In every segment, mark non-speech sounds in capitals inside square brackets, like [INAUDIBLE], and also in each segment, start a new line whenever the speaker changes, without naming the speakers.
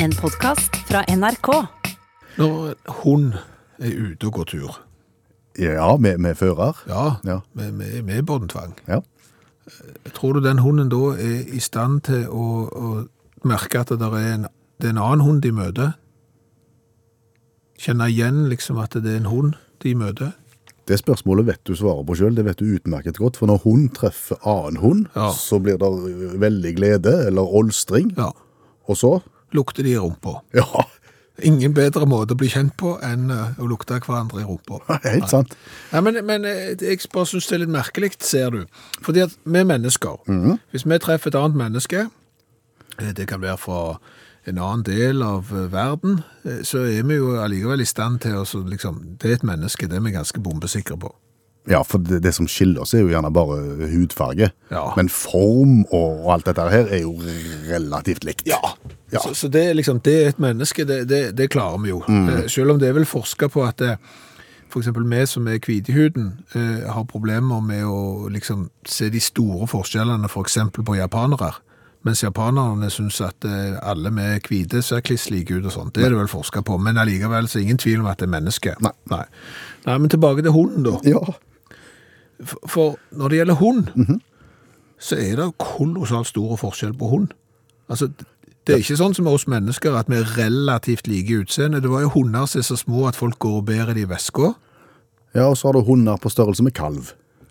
En podkast fra NRK.
Når en hund er ute og går tur,
Ja, med, med fører.
ja,
Ja.
Med, med, med båndtvang,
Ja.
tror du den hunden da er i stand til å, å merke at det er, en, det er en annen hund de møter? Kjenne igjen liksom at det er en hund de møter?
Det spørsmålet vet du svaret på sjøl, det vet du utmerket godt. For når hund treffer annen hund,
Ja.
så blir det veldig glede, eller olstring.
Ja.
Og så
Lukter de i rumpa?
Ja, [LAUGHS]
Ingen bedre måte å bli kjent på enn eh, å lukte hverandre i rumpa.
helt sant.
Nei, men, men eh, jeg bare synes det er litt merkelig, ser du. Fordi at vi er mennesker. Hvis vi treffer et annet menneske, eh, det kan være fra en annen del av eh, verden, eh, så er vi jo allikevel i stand til å så liksom, Det er et menneske, det er vi ganske bombesikre på.
Ja, for det, det som skiller oss, er jo gjerne bare hudfarge.
Ja.
Men form og, og alt dette her er jo relativt likt. Ja.
Så, så det er liksom, det er et menneske, det, det, det klarer vi jo.
Mm.
Eh, Selv om det er vel forska på at eh, for eksempel vi som er hvite i huden, eh, har problemer med å liksom se de store forskjellene for eksempel på japanere. Mens japanerne syns at eh, alle med hvite ser kliss like ut og sånt. Det er det vel forska på. Men allikevel så er det ingen tvil om at det er menneske.
Nei.
Nei. Nei, men tilbake til hunden, da.
Ja.
For- For når det gjelder hund, så er det kolossalt store forskjell på hund. Altså, det er ikke sånn som med oss mennesker, at vi er relativt like i utseende. Det var jo hunder som er så små at folk går og bærer de i vesker.
ja, og så har du hunder på størrelse med kalv.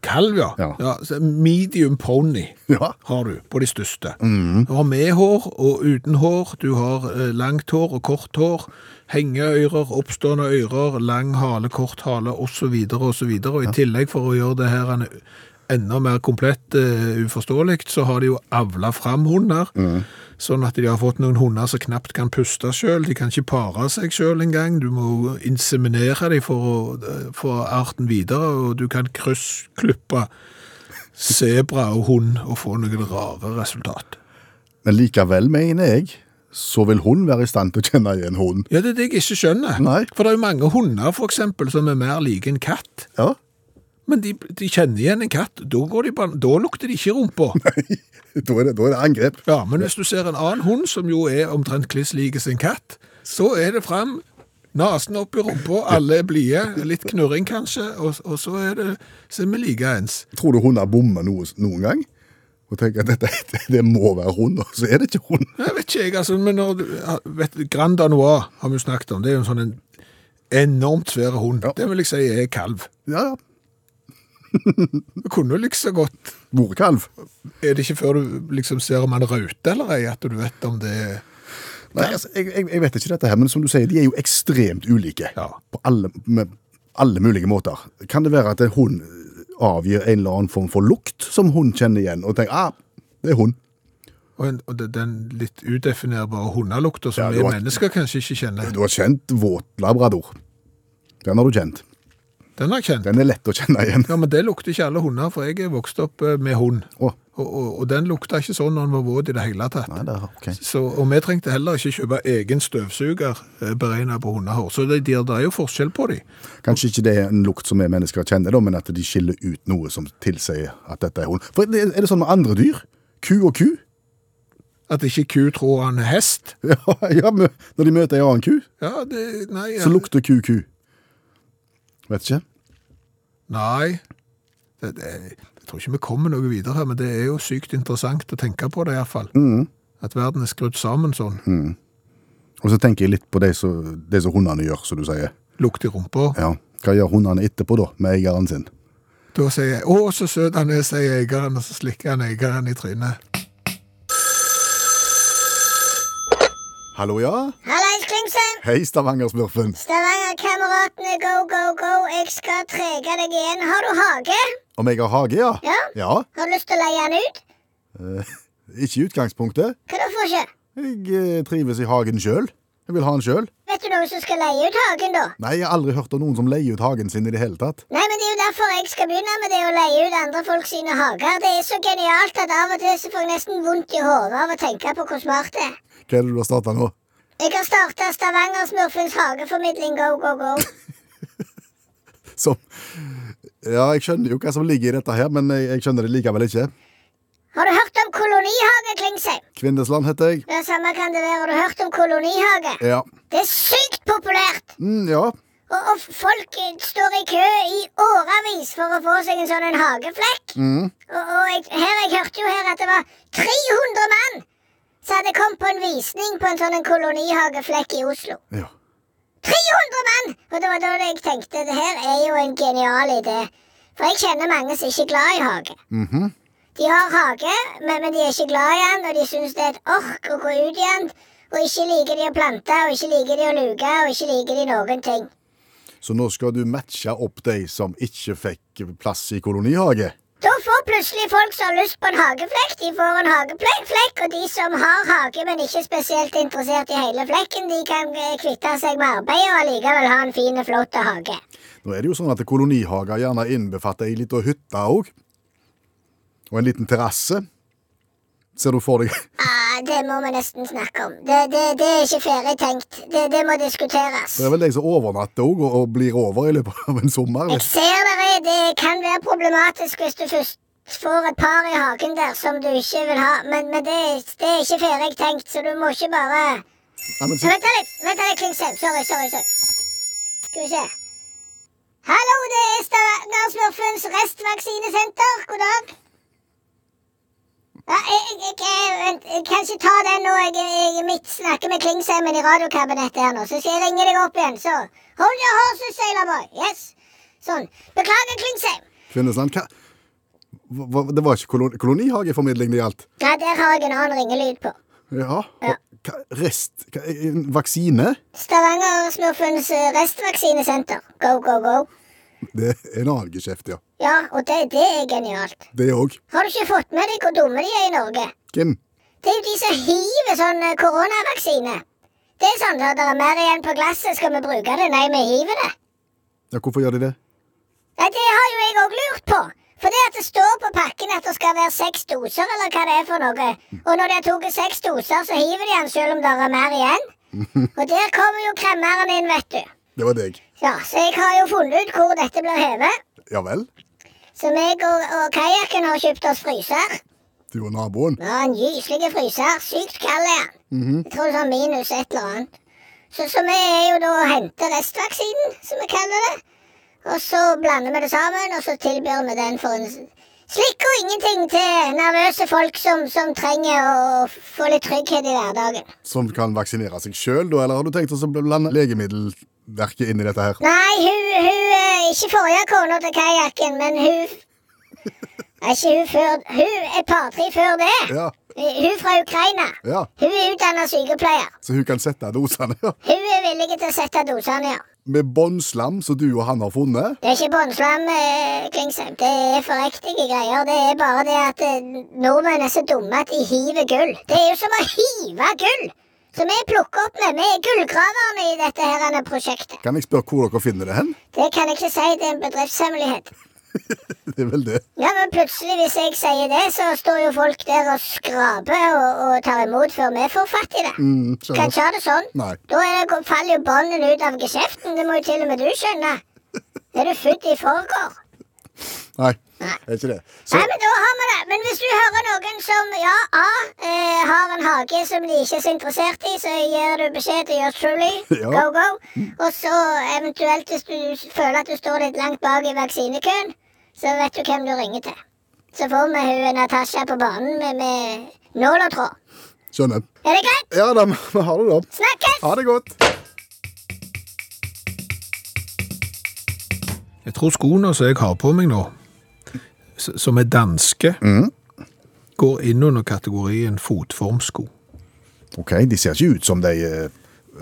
Kalv, ja.
Ja.
så medium pony
Ja.
har du på de største. Du har med hår og uten hår, du har eh, langt hår og kort hår, hengeøyrer, oppstående øyrer, lang hale, kort hale, osv., osv. Og i tillegg, for å gjøre det her en enda mer komplett eh, uforståelig, så har de jo avla fram hunder, sånn at de har fått noen hunder som knapt kan puste sjøl, de kan ikke pare seg sjøl engang, du må inseminere dem for å eh, få arten videre, og du kan kryssklippe sebra og hund og få noen rare resultat.
Men likevel, mener jeg, så vil hun være i stand til å kjenne igjen hunden.
Ja, det er det jeg ikke skjønner.
Nei.
For det er jo mange hunder for eksempel, som er mer like en katt.
Ja.
Men de, de kjenner igjen en katt, da, går de bare, da lukter de ikke rumpa.
Da er det, da er det angrep.
Ja, men hvis du ser en annen hund, som jo er omtrent kliss like sin katt, så er det fram, nasen opp i rumpa, alle er blide, litt knurring kanskje, og, og så er det, så er vi like ens.
Tror du hunder bommer noe, noen gang? Og tenker at dette, [LAUGHS] det må være hund, og så er det ikke hund.
Jeg vet ikke, jeg, altså, men når, du- ja, vet, du, Grand Danois har vi jo snakket om. Det er jo en sånn en enormt svær hund.
Ja.
Det vil jeg si er kalv.
Ja, ja.
Du kunne jo like så godt
Morekalv.
Er det ikke før du liksom ser om han rauter eller ei, at du vet om det er
Nei, altså, jeg, jeg, jeg vet ikke dette her, men som du sier, de er jo ekstremt ulike.
Ja.
På alle, med alle mulige måter. Kan det være at en hund avgir en eller annen form for lukt som hun kjenner igjen, og tenker ah, det er hund.
Og, en, og det- den litt udefinerbare hundelukta som
Ja,
vi
du har-
mennesker kanskje ikke kjenner.
Du har kjent våt labrador. Den har du kjent.
Den har jeg kjent.
Den er lett å kjenne igjen.
Ja, Men det lukter ikke alle hunder, for jeg er vokst opp eh, med hund.
Å,
Og, og, og den lukta ikke sånn når den var våt i det hele tatt.
nei, det er ok.
Så, og vi trengte heller ikke kjøpe egen støvsuger beregna på hundehår. Så det, det, det er jo forskjell på de.
Kanskje ikke det er en lukt som vi mennesker kjenner, da, men at de skiller ut noe som tilsier at dette er hund. For det- Er det sånn med andre dyr? Ku og ku? [LAUGHS]
At ikke ku tror han er hest.
Ja, ja, men Når de møter en annen ku,
Ja, det Nei.
så lukter ku ku. Vet ikke.
Nei. Det, det, jeg tror ikke vi kommer noe videre her, men det er jo sykt interessant å tenke på det iallfall.
Mhm.
At verden er skrudd sammen sånn.
Og så tenker jeg litt på det som det som hundene gjør, som du sier.
Lukt i rumpa.
Ja, Hva gjør hundene etterpå, da, med eieren sin?
Da sier jeg 'Å, så søt han er', sier eieren, og så slikker han eieren i trynet.
Hallo, ja?
Hallais, Klingsheim!
Hei, Stavanger-smurfen.
Stavanger-kameratene, go, go, go! Jeg skal trege deg igjen. Har du hage?
Om jeg har hage, ja?
Ja?
Ja,
Har du lyst til å leie den ut?
Ikke i utgangspunktet.
Hva da, for ikke?
Jeg eh, trives i hagen sjøl. Jeg vil ha den sjøl.
Vet du noen som skal leie ut hagen, da?
Nei, jeg har aldri hørt om noen som leier ut hagen sin i det hele tatt.
Nei, men det er jo derfor jeg skal begynne med det å leie ut andre folk sine hager. Det er så genialt at av og til så får jeg nesten vondt i hodet av å tenke på hvor smart det er.
Hva er det du har starta nå? [LAUGHS]
Jeg har starta Stavanger-smurfens hageformidling, go, go, go.
Som Ja, jeg skjønner jo hva som ligger i dette her, men jeg, jeg skjønner det likevel ikke.
Har du hørt om kolonihage, Kvinsheim.
Kvindesland heter jeg.
Det samme kan det være. Har du hørt om kolonihage?
Ja.
Det er sykt populært!
Mm, ja.
Og, og folk eh, står i kø i årevis for å få seg en sånn en hageflekk. Og, og jeg, her, jeg hørte jo her at det var 300 mann som hadde kommet på en visning på en sånn en kolonihageflekk i Oslo.
ja.
300 mann! Og det var da jeg tenkte det her er jo en genial idé. For jeg kjenner mange som ikke er glad i hage. De har hage, men, men de er ikke glad i den, og de syns det er et ork å gå ut i den. Og ikke liker de å plante, og ikke liker de å luke, og ikke liker de noen ting.
Så nå skal du matche opp de som ikke fikk plass i kolonihage?
Da får plutselig folk som har lyst på en hageflekk, de får en hageflekk, og de som har hage, men ikke er spesielt interessert i hele flekken, de kan eh, kvitte seg med arbeidet og allikevel ha en fin, flott hage.
Nå er det jo sånn at kolonihager gjerne innbefatter ei lita hytte òg. Og en liten terrasse. Ser du for deg [LAUGHS]
Ah, det må vi nesten snakke om. Det, det, det er ikke ferdig tenkt. Det, det må diskuteres.
Det er vel de som overnatter òg, og og blir over i løpet av en sommer.
Jeg
vet
ser dere, det kan være problematisk hvis du først får et par i hagen der som du ikke vil ha, men, men det, det er ikke ferdig tenkt, så du må ikke bare
du. Nei, men,
Så Vent da litt, vent da litt, Klingsheim. Sorry, sorry, sorry. Skal vi se. Hallo, det er Stavangersmurfens restvaksinesenter. God dag. Ja, jeg, jeg, jeg, jeg, vent, jeg kan ikke ta den nå. Jeg, jeg, jeg midt snakker med Klingsheimen i radiokabinettet her nå. Så skal jeg ringe deg opp igjen. Så hold your horses, sailor boy. Yes. Sånn. Beklager, Klingsheim.
Kvinnesland, hva hva- hva- Det var ikke kolon kolonihageformidling det gjaldt?
Ja, der har jeg en annen ringelyd på.
Ja.
Ja.
Og Hva, rest hva, en Vaksine?
Stavangersmurfens eh, restvaksinesenter. Go, go, go.
Det er en annen geskjeft, ja.
Ja, og det, det er genialt.
Det òg.
Har du ikke fått med deg hvor dumme de er i Norge?
Hvem?
Det er jo de som hiver sånn eh, koronavaksine. Det er sånn at det er mer igjen på glasset, skal vi bruke det? Nei, vi hiver det.
Ja, hvorfor gjør de det?
Nei, det har jo jeg òg lurt på. For det at det står på pakken at det skal være seks doser, eller hva det er for noe. Og når de har tatt seks doser, så hiver de den selv om det er mer igjen. Og der kommer jo kremmeren inn, vet du.
Det var deg.
Ja, Så jeg har jo funnet ut hvor dette blir hevet.
Ja vel?
Så meg og, og kajakken har kjøpt oss fryser.
Du og naboen?
Ja, en gyselig fryser. Sykt kald er han. Jeg tror det er minus et eller annet. Så, så vi er jo da og henter restvaksinen, som vi kaller det. Og så blander vi det sammen, og så tilbyr vi den for en s- slikk og ingenting til nervøse folk som, som trenger å få litt trygghet i hverdagen.
Som kan vaksinere seg sjøl, da? Eller har du tenkt å så blande legemiddelverket inn i dette her?
Nei, hun, hun eh, Ikke forrige kona til kajakken, men hun Nei, Ikke hun før Hun et par-tre før det.
Ja.
Hun fra Ukraina.
Ja.
Hun er utdanna sykepleier.
Så hun kan sette dosene? ja.
Hun er villig til å sette dosene, ja.
Med båndslam som du og han har funnet?
Det er ikke båndslam, eh, Klingsheim. Det er forriktige greier. Det er bare det at eh, nordmenn er så dumme at de hiver gull. Det er jo som å hive gull! Så vi plukker opp med. Vi er gullgraverne i dette her ene prosjektet.
Kan jeg spørre hvor dere finner det hen?
Det kan jeg ikke si. Det er en bedriftshemmelighet.
Det er vel det.
Ja, men plutselig, hvis jeg sier det, så står jo folk der og skraper og, og tar imot før vi får fatt i det.
Mm,
Kan
skjønner.
ikke ha det sånn.
Nei.
Da er det, faller jo båndene ut av geskjeften. Det må jo til og med du skjønne. Er du født i forgår?
Nei, er ikke det. Så,
Nei, men da har vi det. Men hvis du hører noen som ja, A, eh, har en hage som de ikke er så interessert i, så gir du beskjed til yours truly.
[LAUGHS] Ja.
Go, go. Og så eventuelt, hvis du føler at du står litt langt bak i vaksinekøen, så vet du hvem du ringer til. Så får vi hun Natasja på banen med, med nål og tråd.
skjønner.
Er det greit?
Ja da, [LAUGHS] vi har det da.
Snakkes!
Ha det godt.
Jeg tror skoene som jeg har på meg nå, s- som er danske, går inn under kategorien fotformsko.
Ok, de ser ikke ut som de eh,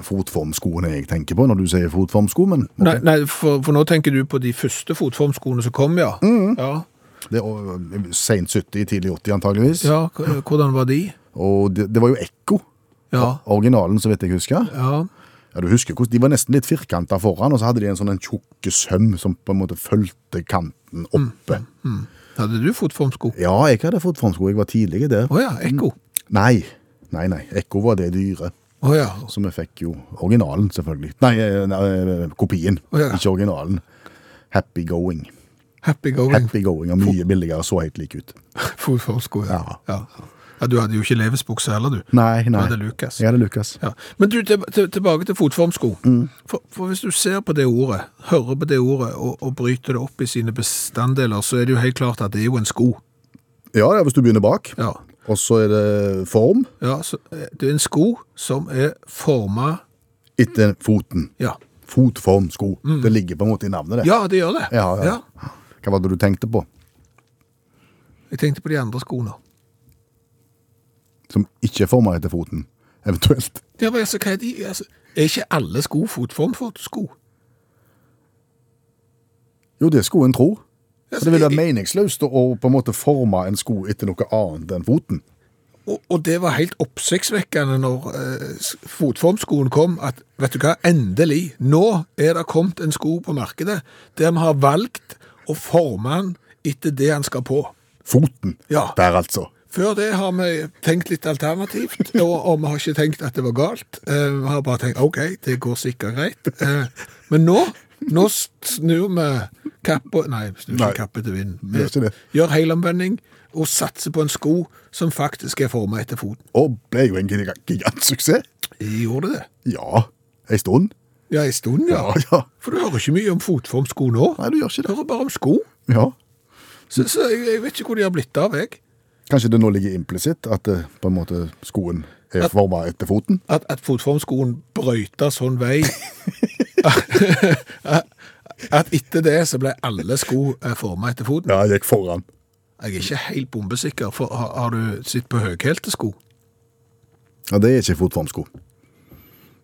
fotformskoene jeg tenker på når du sier fotformsko, men
Nei, nei for, for nå tenker du på de første fotformskoene som kom, ja. Ja,
det er eh, sent 70, tidlig 80 antageligvis.
ja k- hvordan var de?
Og det, det var jo Ekko,
Ja,
originalen, så vidt jeg husker.
ja.
Ja, du husker hvordan De var nesten litt firkanta foran, og så hadde de en sånn en tjukke søm som på en måte fulgte
Mm.
kanten oppe.
Hadde du fotformsko? Å
Ja, jeg hadde fotformsko, jeg var tidlig der. Mm.
ja, ekko.
Nei, nei, nei. Ekko var det dyre.
Å ja.
Så vi fikk jo originalen, selvfølgelig. Nei, eh, nei eh, kopien.
Å, ja.
Ikke originalen. Happy Going.
Happy going [LAUGHS]
Happy Going er mye billigere, så helt lik ut.
fotformsko. Ja. ja. Ja, du hadde jo ikke Levis-bukse heller, du.
Nei, nei.
Du hadde Lucas.
Jeg hadde Lukas.
Ja. Men du, til- til- tilbake til fotformsko. For, for hvis du ser på det ordet, hører på det ordet og, og bryter det opp i sine bestanddeler, så er det jo helt klart at det er jo en sko.
Ja, ja, hvis du begynner bak.
Ja,
Og så er det form
ja så, eh, Det er en sko som er forma
etter foten.
ja.
Fotform, sko. Det ligger på en måte i navnet, det.
ja, det gjør det.
Mm. Ja, ja. Hva var det du tenkte på?
Jeg tenkte på de andre skoene.
Som ikke er forma etter foten, eventuelt.
Ja, men altså, hva er de? Altså, er ikke alle sko fotform for sko?
Jo, det er skoen tror.
Ja,
Så det vil
i-
være meningsløst å på en måte forme en sko etter noe annet enn foten.
Og, og det var helt oppsiktsvekkende når eh, s- fotformskoen kom, at vet du hva, endelig, nå er det kommet en sko på markedet der vi har valgt å forme den etter det han skal på.
Foten.
Ja.
Der, altså.
Før det har vi tenkt litt alternativt, [LAUGHS] og, og vi har ikke tenkt at det var galt. Eh, vi har bare tenkt OK, det går sikkert greit. Eh, men nå, nå snur vi kappa Nei, vi snur
Nei.
ikke kappa til vinden.
Vi gjør ikke det.
gjør helomvending og satser på en sko som faktisk er forma etter foten.
Og ble jo en giga- gigantsuksess.
Gjorde det?
Ja. Ei stund.
Ja, en stund, ja.
Ja, ja.
For du hører ikke mye om fotformsko nå.
Nei, du gjør ikke
Du
det.
hører bare om sko.
Ja.
Så, så jeg, jeg vet ikke hvor de har blitt av, jeg.
Kanskje det nå ligger implisitt at eh, på en måte skoen er
At-
forma etter foten?
At, at fotformskoen brøyta sånn
[LAUGHS]
vei. at etter det så ble alle sko forma etter foten.
Ja, jeg gikk foran.
Jeg er ikke helt bombesikker, for har, har du sett på høghælte sko?
Ja, Det er ikke fotformsko.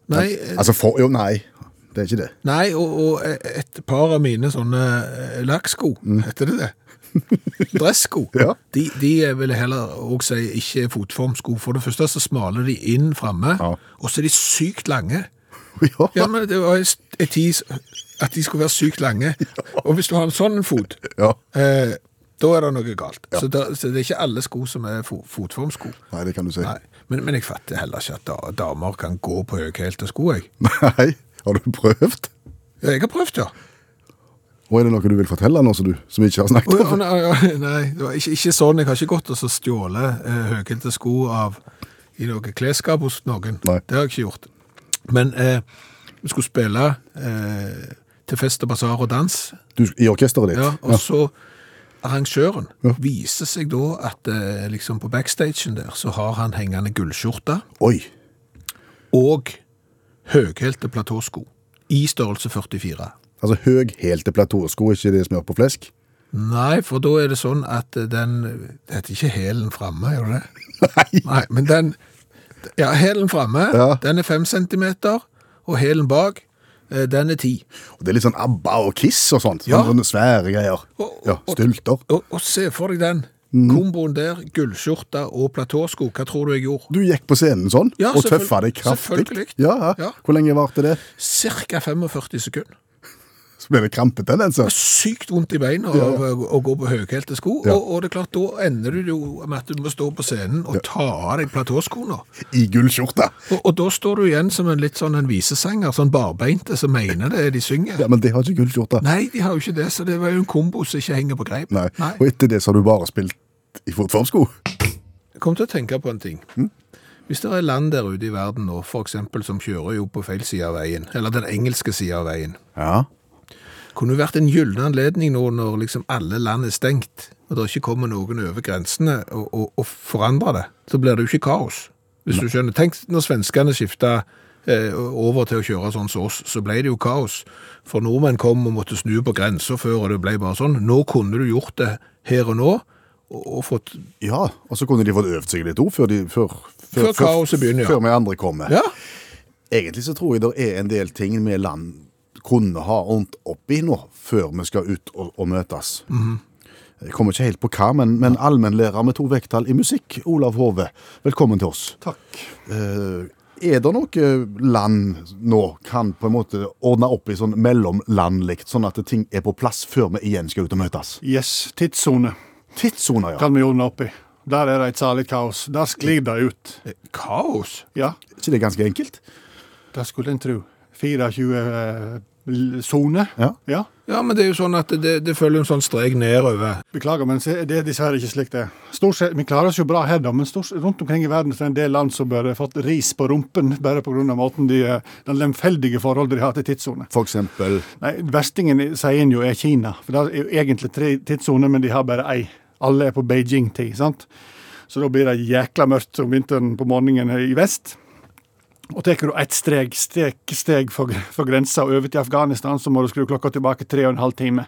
Nei, eh,
Altså, for, jo, nei. Det er ikke det. [LAUGHS]
nei og, og et par av mine sånne eh, lakksko, heter det det? [LAUGHS] Dressko.
Mm. Ja.
De, de vil jeg heller òg si ikke er fotformsko. For det første så smaler de inn framme,
Ja.
og så er de sykt lange.
Ja,
Ja, men det var en s- en tid s- at de skulle være sykt
[LAUGHS]
lange. Og hvis du har en sånn fot,
Ja.
eh, da er det noe galt. Så, da, så det er ikke alle sko som er fo fotformsko.
Nei, det kan du si.
Nei. Men, men jeg fatter heller ikke at da, damer kan gå på høyhælte sko, jeg.
[LAUGHS] Nei. Har du prøvd?
Ja, Jeg har prøvd, ja.
Og er det noe du vil fortelle nå som du som vi ikke har
Å,
snakket
ja,
om?
nei, ja, [LAUGHS] nei, det var ikke, ikke sånn. Jeg har ikke gått og så stjålet eh, høyhælte sko av i noe klesskap hos noen.
Nei.
Det har jeg ikke gjort. Men eh, vi skulle spille eh, til fest og basar og dans
Du, I orkesteret ditt?
Ja, altså. og så arrangøren viser seg da at eh, liksom på backstagen der så har han hengende gullskjorte
Oi.
og høghælte platåsko i størrelse 44.
Altså høg helt til platåsko, ikke det smør på flesk? [LAUGHS]
Nei, for da er det sånn at eh, den Det heter ikke hælen framme, gjør det det? Nei, men den Ja, hælen framme,
Ja.
den er fem centimeter, og hælen bak, eh, den er ti.
Og det er litt sånn ABBA og Kiss og sånt.
Ja.
Sånne svære greier.
Og-
Ja,
og-
Stylter.
Og, og se for deg den.
Mm.
Komboen der, gullskjorte og platåsko. Hva tror du jeg gjorde?
Du gikk på scenen sånn,
Ja,
og
selvfølgelig-
tøffa deg kraftig.
selvfølgelig.
Ja, ja.
Ja.
Hvor lenge varte det?
Cirka 45 sekunder.
Så ble det krampetendenser.
Sykt vondt i beina av å- å gå på høyhælte sko.
Ja.
Og, og det er klart, da ender du jo med at du må stå på scenen og ta av deg platåskoene.
I gullskjorte.
Og, og da står du igjen som en litt sånn en visesanger, sånn barbeinte som mener det de synger.
Ja, Men det har ikke gullskjorte.
Nei, de har jo ikke det, så det var jo en kombo som ikke henger på greip.
Nei. Og etter det så har du bare spilt i fotformsko.
Jeg kom til å tenke på en ting. Hvis det er land der ute i verden nå, for eksempel, som kjører jo på feil side av veien, eller den engelske sida av veien,
Ja.
kunne jo vært en gyllen anledning nå når liksom alle land er stengt, og det ikke kommer noen over grensene og, og, og forandrer det. Så blir det jo ikke kaos, hvis du skjønner. Tenk når svenskene skifta eh, over til å kjøre sånn som oss, så ble det jo kaos. For nordmenn kom og måtte snu på grenser før, og det ble bare sånn. Nå kunne du gjort det her og nå, og, og fått
Ja, og så kunne de fått øvd seg litt òg før, de- før,
Før kaoset begynner, ja.
Før vi andre kommer.
Ja,
Egentlig så tror jeg det er en del ting vi land kunne ha ordent opp i nå, før vi skal ut og, og møtes.
Mhm.
Jeg kommer ikke helt på hva, men, men allmennlærer med to vekttall i musikk, Olav Hove, velkommen til oss. Takk. Eh, er det noe eh, land nå kan på en måte ordne opp i sånn mellomlandlikt, sånn at ting er på plass før vi igjen skal ut og møtes?
Yes, tidssone
Tidssoner, ja.
kan vi ordne opp i. Der er det et salig kaos. Der sklir det ut.
eh, kaos?
Ja,
Er ikke det ganske enkelt?
det skulle en tro. 24 eh, l- sone.
Ja.
ja.
Ja, men det er jo sånn at det, det følger en sånn strek nedover.
Beklager, men se, det er dessverre ikke slik det er. Stort sett, Vi klarer oss jo bra her, da, men stort, sett- rundt omkring i verden så er det en del land som bare har fått ris på rumpen bare pga. måten de eh, den lemfeldige forholdet de har til tidssone.
For eksempel
Nei, Verstingen i- sier en jo er Kina, for det er jo egentlig tre tidssoner, men de har bare ei. Alle er på Beijing-tid, sant? Så da blir det jækla mørkt om vinteren på morgenen i vest. Og tar du ett steg, steg, steg for, for grensa og over til Afghanistan, så må du skru klokka tilbake tre og en halv time.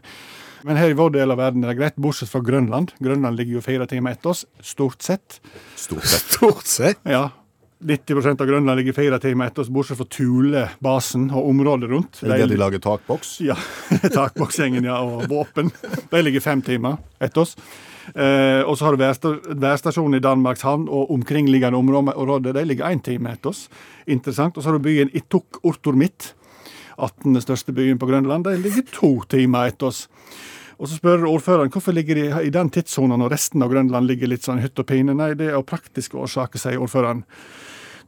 Men her i vår del av verden er det greit, bortsett fra Grønland. Grønland ligger jo fire timer etter oss, stort sett.
stort sett.
Stort sett.
Ja. 90 av Grønland ligger fire timer etter oss, bortsett fra Thule-basen og området rundt.
Det er der de lager takboks.
Ja, [LAUGHS] takboksgjengen ja, og våpen. De ligger fem timer etter oss. Eh, og så har du værsta- værstasjonen i Danmarks havn og omkringliggende områder. De ligger én time etter oss. Interessant. Og så har du byen Ituk Ortormit, 18. største byen på Grønland. De ligger to timer etter oss. Og så spør du ordføreren hvorfor ligger de i den tidssonen når resten av Grønland ligger litt sånn hytt og pine. Nei, det er av praktiske årsaker, sier ordføreren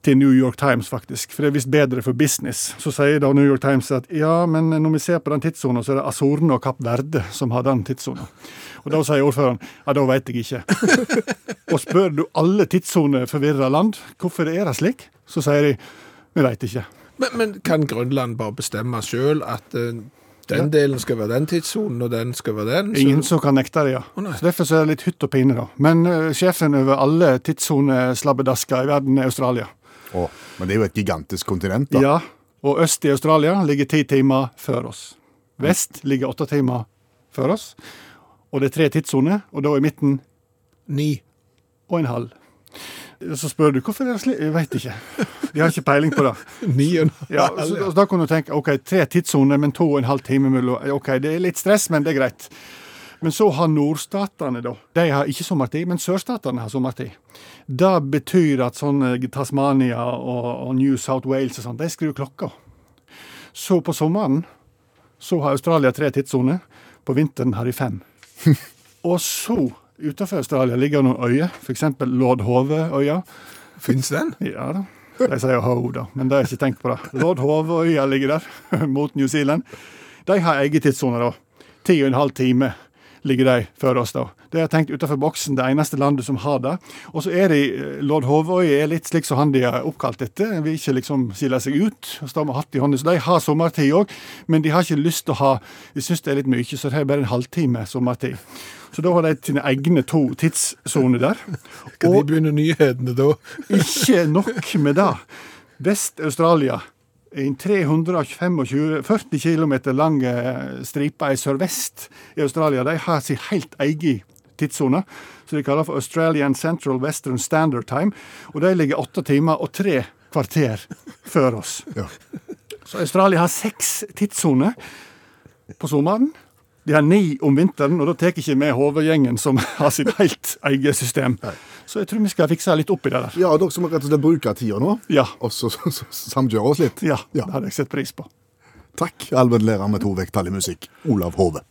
til New York Times, faktisk. For det er visst bedre for business. Så sier da New York Times at ja, men når vi ser på den tidssona, så er det Azorene og Kapp Verde som har den tidssona. Og da sier ordføreren ja, da veit jeg ikke. og spør du alle tidssoneforvirra land hvorfor det er det slik, så sier de vi veit ikke.
Men, men kan Grønland bare bestemme sjøl at eh, den delen skal være den tidssonen, og den skal være den? så-
Ingen som kan nekte det, ja.
nei.
så derfor så er det litt hytt og pine, da. Men eh, sjefen over alle tidssoneslabbedasker i verden er Australia.
Å, men det er jo et gigantisk kontinent, da.
Ja, og øst i Australia ligger ti timer før oss. Vest ligger åtte timer før oss. Og det er tre tidssoner, og da er midten
Ni.
og en halv. Så spør du hvorfor er det slik? Jeg veit ikke. De har ikke peiling på det.
Ni og en
Ja,
halv,
så,
ja.
så da kan du tenke ok, tre tidssoner, men to og en halv time mellom. Ok, det er litt stress, men det er greit. Men så har nordstatene, da. De har ikke sommertid, men sørstatene har sommertid. Det betyr at sånne Tasmania og, og New South Wales og sånn, de skrur klokka. Så på sommeren så har Australia tre tidssoner. På vinteren har de fem. og så, utenfor Australia, ligger det noen øyer, f.eks. Lord Hove-øya.
Fins den?
Ja da. De sier ho, da, men det har jeg ikke tenkt på. det. Lord Hoveøya ligger der, [LAUGHS] mot New Zealand. De har egen tidssone, da. Ti og en halv time ligger de før oss, da. Det har jeg tenkt utenfor boksen, det eneste landet som har det. Og så er de, eh, Lord Hoveøya er litt slik som han de er oppkalt etter. Vil ikke liksom skille seg ut. og stå med hatt i hånden. Så de har sommertid òg, men de har ikke lyst til å ha De syns det er litt mye, så det er bare en halvtime sommertid. Så da har de sine egne to tidssoner der.
Kan de begynne nyhetene da?
Ikke nok med det. Vest-Australia en 325 40 km lang eh, stripe i sørvest i Australia. De har sin helt egen tidssone, som de kaller for Australian Central Western Standard Time. Og de ligger åtte timer og tre kvarter før oss. Så Australia har seks tidssoner på sommeren. De har ni om vinteren, og da tar ikke med hovedgjengen som har sitt helt eget system. Så jeg tror vi skal fikse litt opp i det der.
Ja, dere som rett og slett bruker tida nå,
Ja.
og så, så, så samkjører oss litt.
Ja, det hadde jeg sett pris på.
Takk, allmennlærer med to vekttall i musikk, Olav Hove.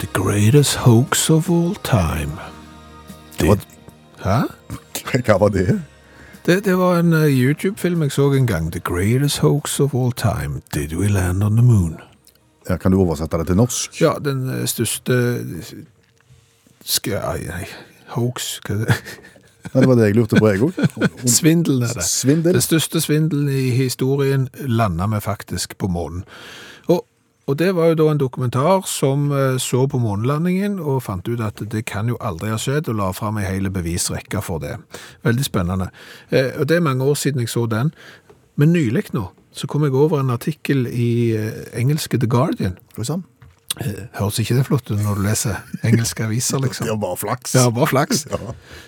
The greatest hoax of all time.
Hva,
Hæ?
hva var det?
Det, det var en eh, YouTube-film jeg så en gang. The greatest hoax of all time. Did we land on the moon?
Ja, kan du oversette det til norsk?
Ja, den eh, største Skal jeg Nei, hoax hva er det?
Ja, det var det jeg lurte på, jeg òg.
Svindelen er det.
Svindel?
Den største svindelen i historien landa vi faktisk på månen. Og, og det var jo da en dokumentar som eh, så på månelandingen og fant ut at det kan jo aldri ha skjedd, og la fram ei hel bevisrekke for det. Veldig spennende. Eh, Og det er mange år siden jeg så den. Men nylig nå så kom jeg over en artikkel i eh, engelske The Guardian.
Oi sann.
Eh, Høres ikke det flott ut når du leser engelske aviser, liksom?
Det var bare flaks.
Ja, bare flaks.
Ja.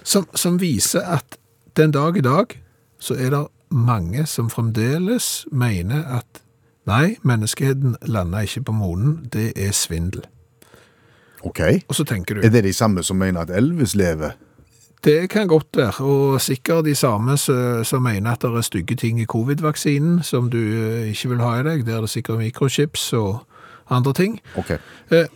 Som, som viser at den dag i dag så er det mange som fremdeles mener at nei, menneskeheten lander ikke på månen, det er svindel.
OK.
Og så tenker
Er
du,
det de samme som mener at Elvis lever?
det kan godt være, og sikkert de samme så- som mener at det er stygge ting i covid-vaksinen som du eh, ikke vil ha i deg, der er det sikkert mikrochips og andre ting.
OK.
Eh,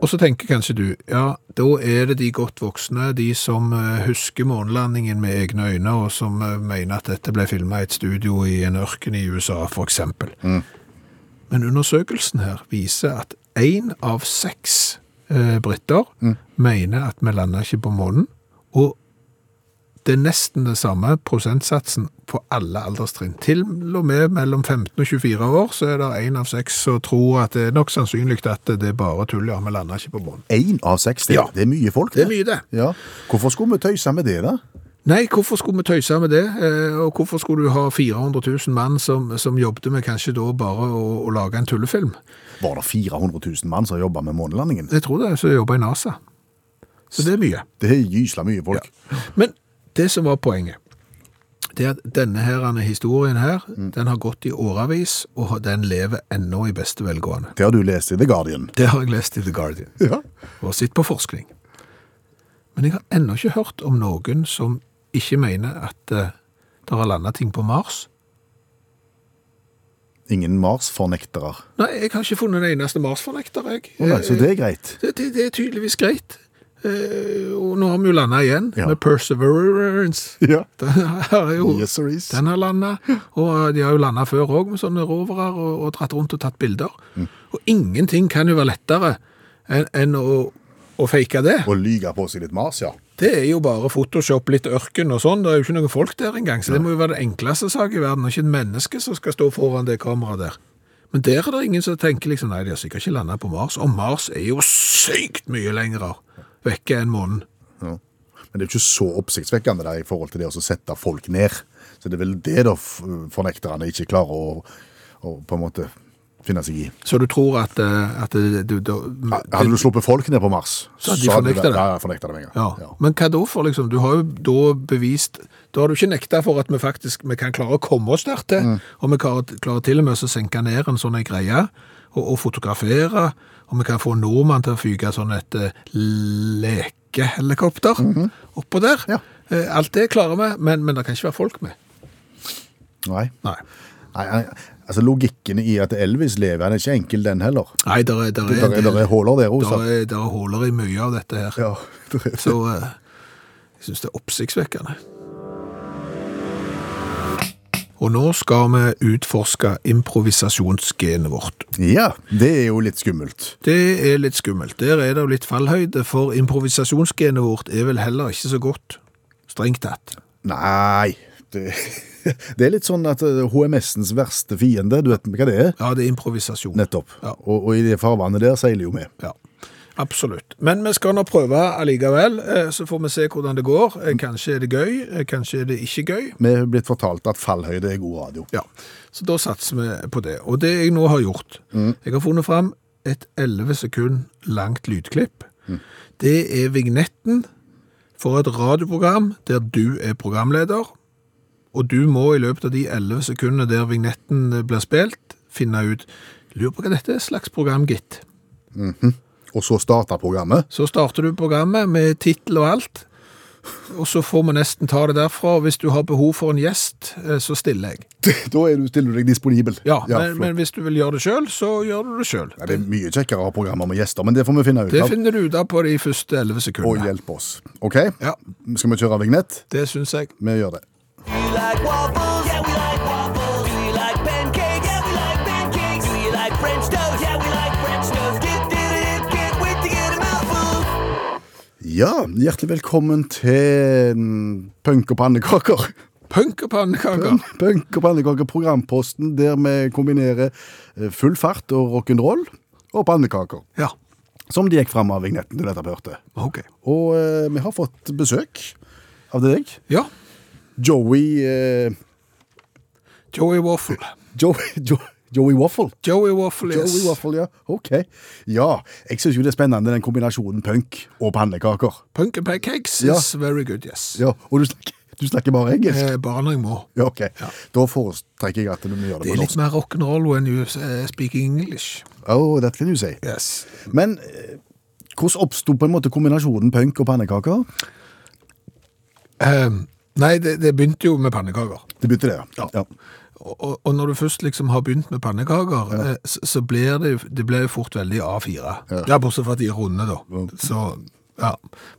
Og så tenker kanskje du, ja, da er det de godt voksne, de som eh, husker månelandingen med egne øyne, og som eh, mener at dette ble filma i et studio i en ørken i USA, for eksempel. Men undersøkelsen her viser at én av seks eh, briter mener at vi lander ikke på månen. Og det er nesten det samme prosentsatsen på alle alderstrinn. Til og med mellom 15 og 24 år så er det én av seks som tror at det er nok sannsynlig at det er bare tull, ja, vi lander ikke på månen.
Én av seks, det,
Ja.
det er mye folk.
Det er mye, det.
Ja. Hvorfor skulle vi tøyse med det, da?
Nei, hvorfor skulle vi tøyse med det? Eh, Og hvorfor skulle du ha 400 000 mann som, som jobbet med kanskje da bare å, å lage en tullefilm?
Var det 400 000 mann som jobba med månelandingen?
Jeg tror det er som jobber i NASA. Så det er mye.
Det er gysla mye folk.
Men det som var poenget, det er at denne her, denne historien her, den har gått i åravis, og den lever ennå i beste velgående.
Det har du lest i The Guardian.
Det har jeg lest i The Guardian,
Ja.
og sett på forskning. Men jeg har ennå ikke hørt om noen som ikke mener at eh, det har landet ting på Mars.
Ingen Mars-fornektere.
Nei, jeg har ikke funnet den eneste Mars-fornekter, jeg. Eh,
Å nei, så det er greit.
Det, det, det er tydeligvis greit. Eh, og nå har vi jo landet igjen
Ja.
med Perseverance.
Ja.
Den har jo
Yes, there is.
Den har landa, og eh, de har jo landa før òg med sånne rovere og, og dratt rundt og tatt bilder.
Mm.
Og ingenting kan jo være lettere enn enn å, å fake det.
Å lyge på seg litt Mars, ja.
Det er jo bare Photoshop, litt ørken og sånn. Det er jo ikke noen folk der engang, så det må jo være det enkleste sak i verden. Og ikke et menneske som skal stå foran det kameraet der. Men der er det ingen som tenker liksom nei, de har sikkert ikke landa på Mars. Og Mars er jo sykt mye lenger vekke enn månen.
Men det er jo ikke så oppsiktsvekkende der, i forhold til det å sette folk ned. Så det er vel det da f- fornekterne ikke klarer å, å på en måte finne seg i.
Så du tror at, eh, at det, du, da-
Hadde du sluppet folk ned på Mars,
Så hadde de
hadde
fornektet det.
Ja, ja, fornektet det med en gang.
Ja.
Ja.
Men hva da for, liksom? Du har jo da bevist Da har du ikke nekta for at vi faktisk vi kan klare å komme oss der til.
Mm.
Og vi klarer, klarer til og med å senke ned en sånn en greie og, og fotografere. Og vi kan få en nordmann til å fyke sånn et eh, lekehelikopter oppå der.
Mhm. Ja.
Eh, Alt det klarer vi, men, men det kan ikke være folk med.
Nei.
Nei.
Nei, nei, altså Logikken i at Elvis lever, den er ikke enkel, den heller.
Nei, der er, der er,
Det
en
der,
del-
der er huller der
der
også.
er, der er huller i mye av dette her.
Ja, der er-
Så eh, jeg syns det er oppsiktsvekkende. Og nå skal vi utforske improvisasjonsgenet vårt.
ja, det er jo litt skummelt.
Det er litt skummelt. Der er det jo litt fallhøyde, for improvisasjonsgenet vårt er vel heller ikke så godt. Strengt tatt.
Nei Det, [LAUGHS] det er litt sånn at eh, HMS-ens verste fiende, du vet hva det er?
Ja, det er improvisasjon.
Nettopp.
Ja.
Og, og i det farvannet der seiler jo vi.
Ja, absolutt. Men vi skal nå prøve allikevel, eh, så får vi se hvordan det går. Eh, Kanskje er det gøy, eh, kanskje er det ikke gøy.
Vi er blitt fortalt at fallhøyde er god radio.
Ja, så da satser vi på det. Og det jeg nå har gjort, jeg har funnet fram et 11 sekund langt lydklipp. Det er vignetten for et radioprogram der du er programleder, og du må i løpet av de 11 sekundene der vignetten blir spilt, finne ut, lurer på hva dette er slags program, gitt.
Og så starter programmet. [LAUGHS]
Så starter du programmet med titel og alt, og så får vi nesten ta det derfra. Hvis du har behov for en gjest, eh, så stiller jeg.
Da er du, stiller du deg disponibel.
Ja, men,
flott.
men hvis du vil gjøre det sjøl, så gjør du det sjøl.
Nei, det er mye kjekkere å ha programmer med gjester, men det får vi finne ut
Det
av.
finner du ut av på de første elleve
Og
sekundene.
hjelpe oss. OK?
Ja,
Skal vi kjøre vignett?
det syns jeg.
Vi gjør det.
We like waffles, yeah, we like waffles. We like pancakes, yeah, we like pancakes. We like French toast, yeah, we like French toast. Get did it, can't wait to get a mouthful.
Ja, hjertelig velkommen til mm, Punk og pannekaker.
Punk og pannekaker.
[LAUGHS] Punk og pannekaker, programposten der vi kombinerer eh, full fart og rock'n'roll og pannekaker.
Ja,
Som de gikk fram av vignetten du nettopp hørte.
ok.
Og eh, vi har fått besøk av deg.
Ja,
Joey eh,
Joey Waffle.
Joey, jo, [LAUGHS] Joey Waffle.
Joey Waffle, yes.
Joey Waffle, ja. Ok. Ja, jeg syns jo det er spennende den kombinasjonen punk og pannekaker.
Punk and pancakes
Ja.
is very good, yes.
Ja, Og du snakker, du snakker bare engelsk?
Eh, bare når jeg må.
Ja, ok. Da foretrekker jeg at du gjør det
Det
på
er litt
norsk.
mer rock'n'roll when you eh, speak English.
Oh, det kan du si.
Yes.
Men eh, hvordan oppsto på en måte kombinasjonen punk og pannekaker?
Ehm, nei, det, det begynte jo med pannekaker.
Det begynte det, ja. ja.
Og, og- og når du først liksom har begynt med pannekaker, eh, så, så blir det, jo- det blir jo fort veldig A4. Ja. bortsett fra at de er runde, da. Så, ja.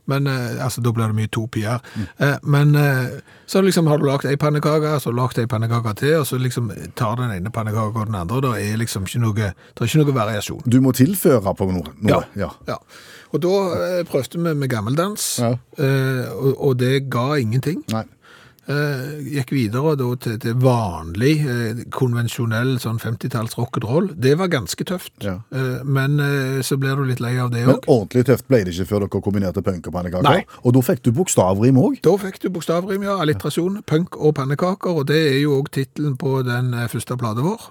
Men eh, altså, da blir det mye to pier. Eh, men eh, så liksom har du lagd ei pannekake, så lagd ei pannekake til, og så liksom tar den ene pannekaka og den andre, og det er liksom ikke noe, det er ikke noe variasjon.
Du må tilføre på noe. noe.
Ja. ja. Og da eh, prøvde vi med gammeldans,
Ja.
eh, og, og det ga ingenting.
Nei.
Eh, gikk videre da til, til vanlig, eh, konvensjonell sånn 50-talls rock'n'roll. Det var ganske tøft,
Ja.
eh, men eh, så blir du litt lei av det
Men
òg.
ordentlig tøft ble det ikke før dere kombinerte punk og
Nei.
pannekaker. Og da fikk du bokstavrim òg.
Da fikk du bokstavrim, ja, alliterasjon, punk og pannekaker, og det er jo òg tittelen på den eh, første plata vår.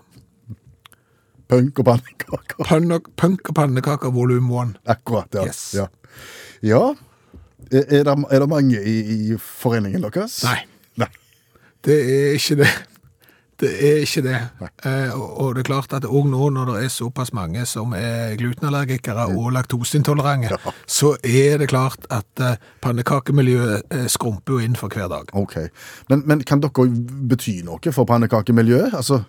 Punk og pannekaker. [LAUGHS]
Punk og, punk og pannekaker volum 1.
Akkurat, ja.
Yes.
Ja. ja. Er, er det, er det mange i, i foreningen deres?
Nei.
Nei.
Det er ikke det. Det er ikke det. Eh, og, og det er klart at òg nå når det er såpass mange som er glutenallergikere og laktoseintolerante, så er det klart at eh, pannekakemiljøet eh, skrumper jo inn for hver dag.
Ok. Men, men kan dere bety noe for pannekakemiljøet? Altså,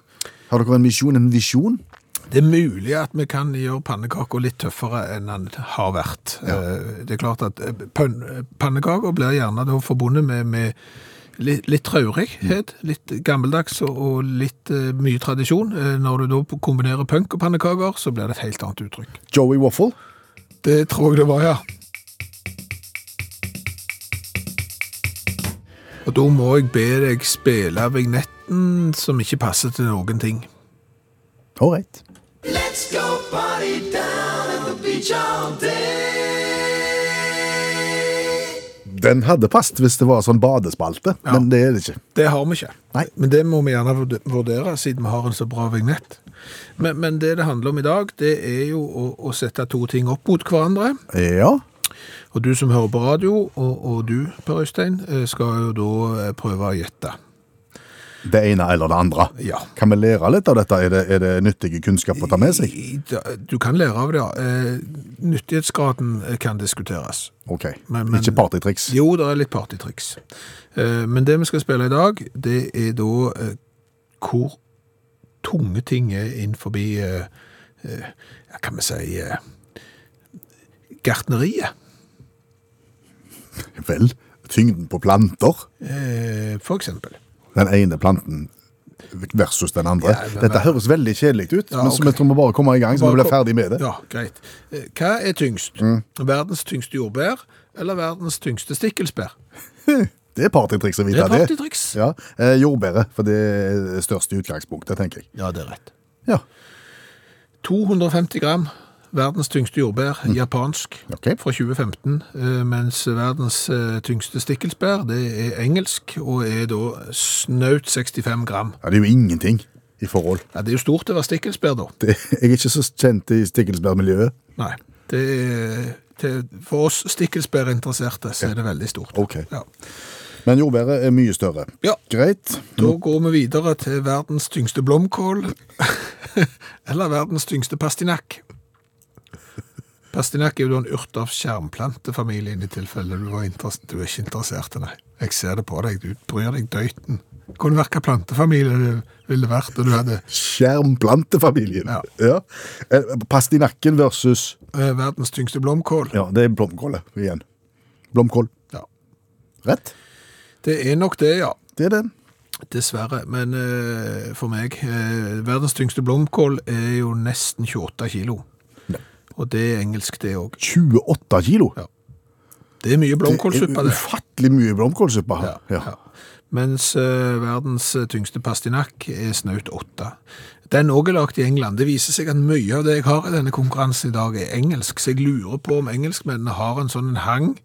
har dere en misjon, en visjon?
Det er mulig at vi kan gjøre pannekaker litt tøffere enn den har vært. Eh, Det er klart at eh, pønn- pannekaker blir gjerne da forbundet med, med litt, litt traurighet, litt gammeldags og, og litt eh, mye tradisjon. Eh, Når du da kombinerer punk og pannekaker, så blir det et helt annet uttrykk.
Joey Waffle?
Det tror jeg det var, ja. Og da må jeg be deg spille vignetten som ikke passer til noen ting.
All right.
Let's go party down at the beach all day.
Den hadde passet hvis det var sånn badespalte, men det er det ikke.
Det har vi ikke.
Nei.
Men det må vi gjerne vurd- vurdere, siden vi har en så bra vignett. Men, men det det handler om i dag, det er jo å, å sette to ting opp mot hverandre.
Ja.
Og du som hører på radio, og, og du, Per Øystein, eh, skal jo da eh, prøve å gjette.
Det ene eller det andre.
Ja.
Kan vi lære litt av dette? Er det, er det nyttige kunnskap å ta med seg?
I- i- Du kan lære av det, ja. Eh, Nyttighetsgraden eh, kan diskuteres.
Ok,
Men- men-
ikke partytriks.
Jo, det er litt partytriks. Eh, Men det vi skal spille i dag, det er da eh, hvor tunge ting er innenfor eh, eh, ja, Kan vi si eh, gartneriet,
Vel, tyngden på planter.
eh, for eksempel.
Den ene planten versus den andre.
Ja, men-
Dette høres veldig kjedelig ut,
Ja,
men så
ok.
vi tror vi bare kommer i gang, så
Bare
vi blir
kom-
ferdig med det.
Ja, greit. Eh, Hva er tyngst? Verdens tyngste jordbær eller verdens tyngste stikkelsbær?
Det er partytriks å
Det
vite
er
det.
partytriks.
Ja, eh, Jordbæret, for det er det største utgangspunktet, tenker jeg.
Ja, det er rett.
Ja,
250 gram, verdens tyngste jordbær, japansk,
Mm. Ok.
fra 2015. eh, Mens verdens eh, tyngste stikkelsbær, det er engelsk, og er da snaut 65 gram.
ja det er jo ingenting i forhold.
Ja, det er jo stort å være stikkelsbær, da.
Det, [LAUGHS] jeg er ikke så kjent i stikkelsbærmiljøet.
Nei, det er... Til, for oss stikkelsbærinteresserte så er det veldig stort.
Ok.
Ja.
Men jordbæret er mye større.
Ja.
Greit.
Da går vi videre til verdens tyngste blomkål, [LAUGHS] eller verdens tyngste pastinakk. Pastinakk er jo da en urt av skjermplantefamilien, i tilfelle du, var interess- du er ikke interessert. Nei. Jeg ser det på deg, du bryr deg døyten. Kunne vært hva plantefamilie du ville vært, og du hadde
Skjermplantefamilien.
Ja.
Eh, Pastinakken versus
eh, verdens tyngste blomkål.
Ja, det er blomkålet igjen. Blomkål.
Ja.
Rett.
Det er nok det, ja.
Det er den.
Dessverre, men eh, for meg eh, Verdens tyngste blomkål er jo nesten 28 kilo. Og det er engelsk, det òg.
28 kilo.
Ja. Det er mye blomkålsuppe,
det.
det.
er Ufattelig mye blomkålsuppe. her.
Ja, ja. Mens eh, verdens tyngste pastinakk er snaut 8. Den òg er lagd i England. Det viser seg at mye av det jeg har i denne konkurransen i dag, er engelsk, så jeg lurer på om engelskmennene har en sånn hang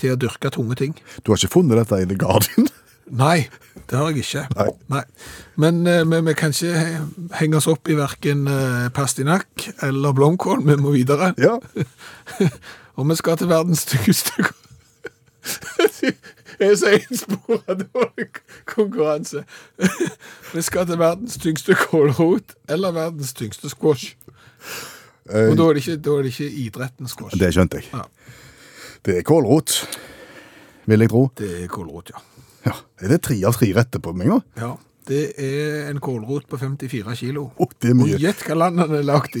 til å dyrke tunge ting.
Du har ikke funnet dette i The Guardian?
[LAUGHS] Nei, det har jeg ikke.
Nei.
Men eh, men vi kan ikke he- henge oss opp i verken pastinakk eller blomkål. Vi må videre.
ja.
Og vi skal til verdens tyngste [LAUGHS] Jeg er så enspora dårlig konkurranse. [LAUGHS] Vi skal til verdens tyngste kålrot eller verdens tyngste squash. Og da er det ikke, da er det ikke idretten squash.
Det skjønte jeg.
Ja.
Det er kålrot, vil jeg tro.
Det er kålrot, ja.
Ja. Er det tre av tre retter på meg nå?
ja. Det er en kålrot på 54 kilo.
Å, det er mye.
Og gjett hva land den er lagd i.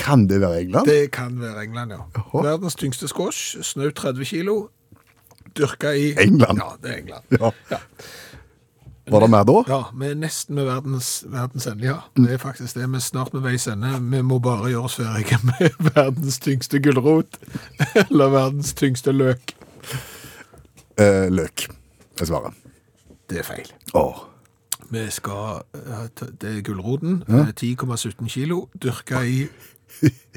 Kan det være England?
Det kan være England, ja. Verdens tyngste squash, snaut 30 kilo, dyrka i
England?
Ja, det er England.
Ja. Var det mer da?
Ja, vi er nesten ved verdens, verdens ende, ja. Det er faktisk det. Vi er snart ved veis ende. Vi må bare gjøre oss ferdige [LAUGHS] med verdens tyngste gulrot. [LAUGHS] Eller verdens tyngste løk.
Eh, løk, er svaret.
Det er feil.
Åh.
Vi skal eh, ta- Det er gulroten. eh, 10,17 kilo. Dyrka i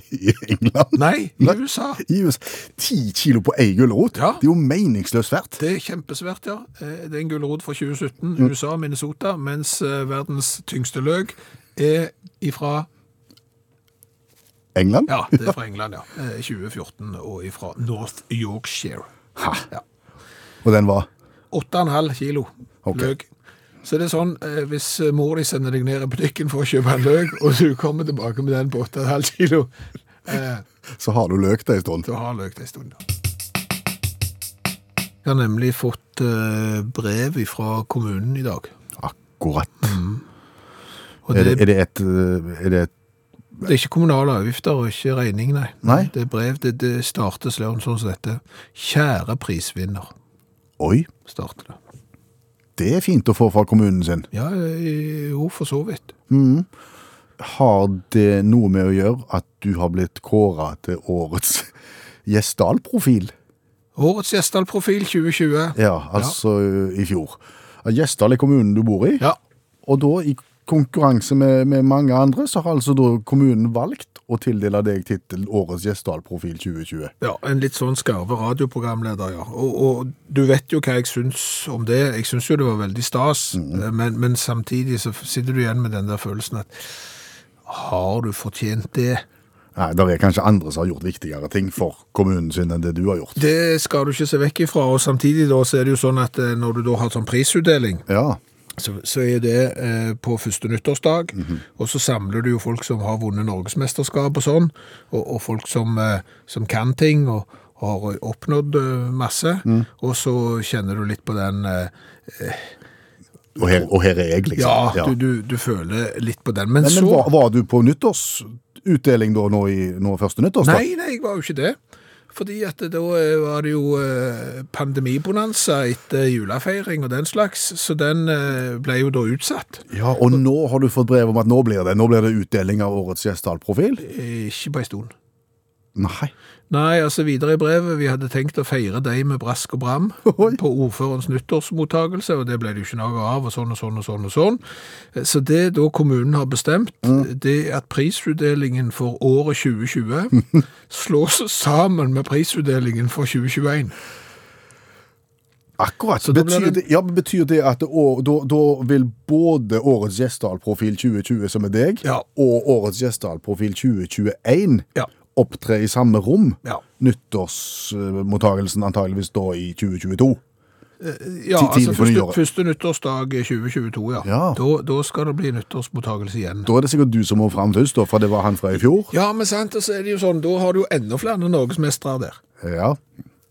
I England?
Nei, i USA.
I USA. Ti kilo på ei gulrot?
Ja.
Det er jo meningsløst verdt.
Det er kjempesvært, ja. Eh, Det er en gulrot fra 2017, USA, Minnesota, mens eh, verdens tyngste løk er ifra
England?
Ja, det er fra England, ja. Eh, 2014, og ifra North Yorkshire.
Ha.
Ja.
Og den var
8,5 kilo
Ok.
løk. Så det er sånn, eh, hvis mor di sender deg ned i butikken for å kjøpe en løk, og du kommer tilbake med den på 8,5 kilo, eh,
Så har du løk der en stund.
Du har løk det en stund, da. Jeg har nemlig fått eh, brev fra kommunen i dag.
Akkurat.
Og
Er
det,
det, er det et eh, er det et,
det er ikke kommunale avgifter og ikke regning, nei.
Nei.
Det er brev, det, det startes sånn som dette. Kjære prisvinner,
Oi,
starter det.
det er fint å få fra kommunen sin.
Ja, eh, jo, for så vidt.
Har det noe med å gjøre at du har blitt kåra til årets Gjesdal-profil?
Årets Gjesdal-profil 2020.
Ja, altså eh, i fjor. Gjesdal er kommunen du bor i,
Ja.
og da i konkurranse med, med mange andre, så har altså da kommunen valgt å tildele deg tittelen Årets Gjesdal-profil 2020.
Ja, en litt sånn skarve radioprogramleder, ja. Og, og du vet jo hva jeg syns om det. Jeg syns jo det var veldig stas, eh, men, men samtidig så sitter du igjen med den der følelsen at har du fortjent det?
Nei, det er kanskje andre som har gjort viktigere ting for kommunen sin enn det du har gjort.
Det skal du ikke se vekk ifra, og samtidig da så er det jo sånn at eh, når du da har sånn prisutdeling,
Ja,
så, så er det eh, på første nyttårsdag, og så samler du jo folk som har vunnet Norgesmesterskap og sånn, og, og folk som, eh, som kan ting og har oppnådd eh, masse, og så kjenner du litt på den eh,
og her, og her er jeg, liksom.
Ja, du, du, du føler litt på den. Men,
Men,
så
men var, var du på nyttårsutdeling da, nå, i, nå første nyttårsdag?
Nei, nei, jeg var jo ikke det. Fordi at da eh, var det jo eh, pandemibonanza etter julefeiring og den slags, så den eh, ble jo da utsatt.
Ja, og nå har du fått brev om at nå blir det, nå blir det utdeling av årets Gjesdal-profil?
Eh, Ikke på en stund.
Nei.
Nei, altså videre i brevet, vi hadde tenkt å feire deg med brask og bram
[LAUGHS] Oi.
på ordførens nyttårsmottagelse, og det ble det jo ikke noe av, og sånn og sånn og sånn og sånn. Eh, Så det da kommunen har bestemt,
Mm.
det er at prisutdelingen for året
[LAUGHS]
2020 slås sammen med prisutdelingen for 2021.
Akkurat.
da blir
betyr, det...
det-
ja, betyr det at det år, da, da vil både årets Gjesdal-profil 2020, som er deg,
Ja.
og årets Gjesdal-profil 2021
Ja.
opptre i samme rom?
Ja.
Nyttårsmottagelsen antageligvis da i 2022.
Ja,
Til-
altså
tidlig på
første,
nyåret.
første nyttårsdag 2022, ja.
Ja.
Da, da skal det bli nyttårsmottagelse igjen.
Da er det sikkert du som må fram først, da, for det var han fra i fjor.
Ja, men sant, og så er det jo sånn, da har du jo enda flere norgesmestere der.
Ja.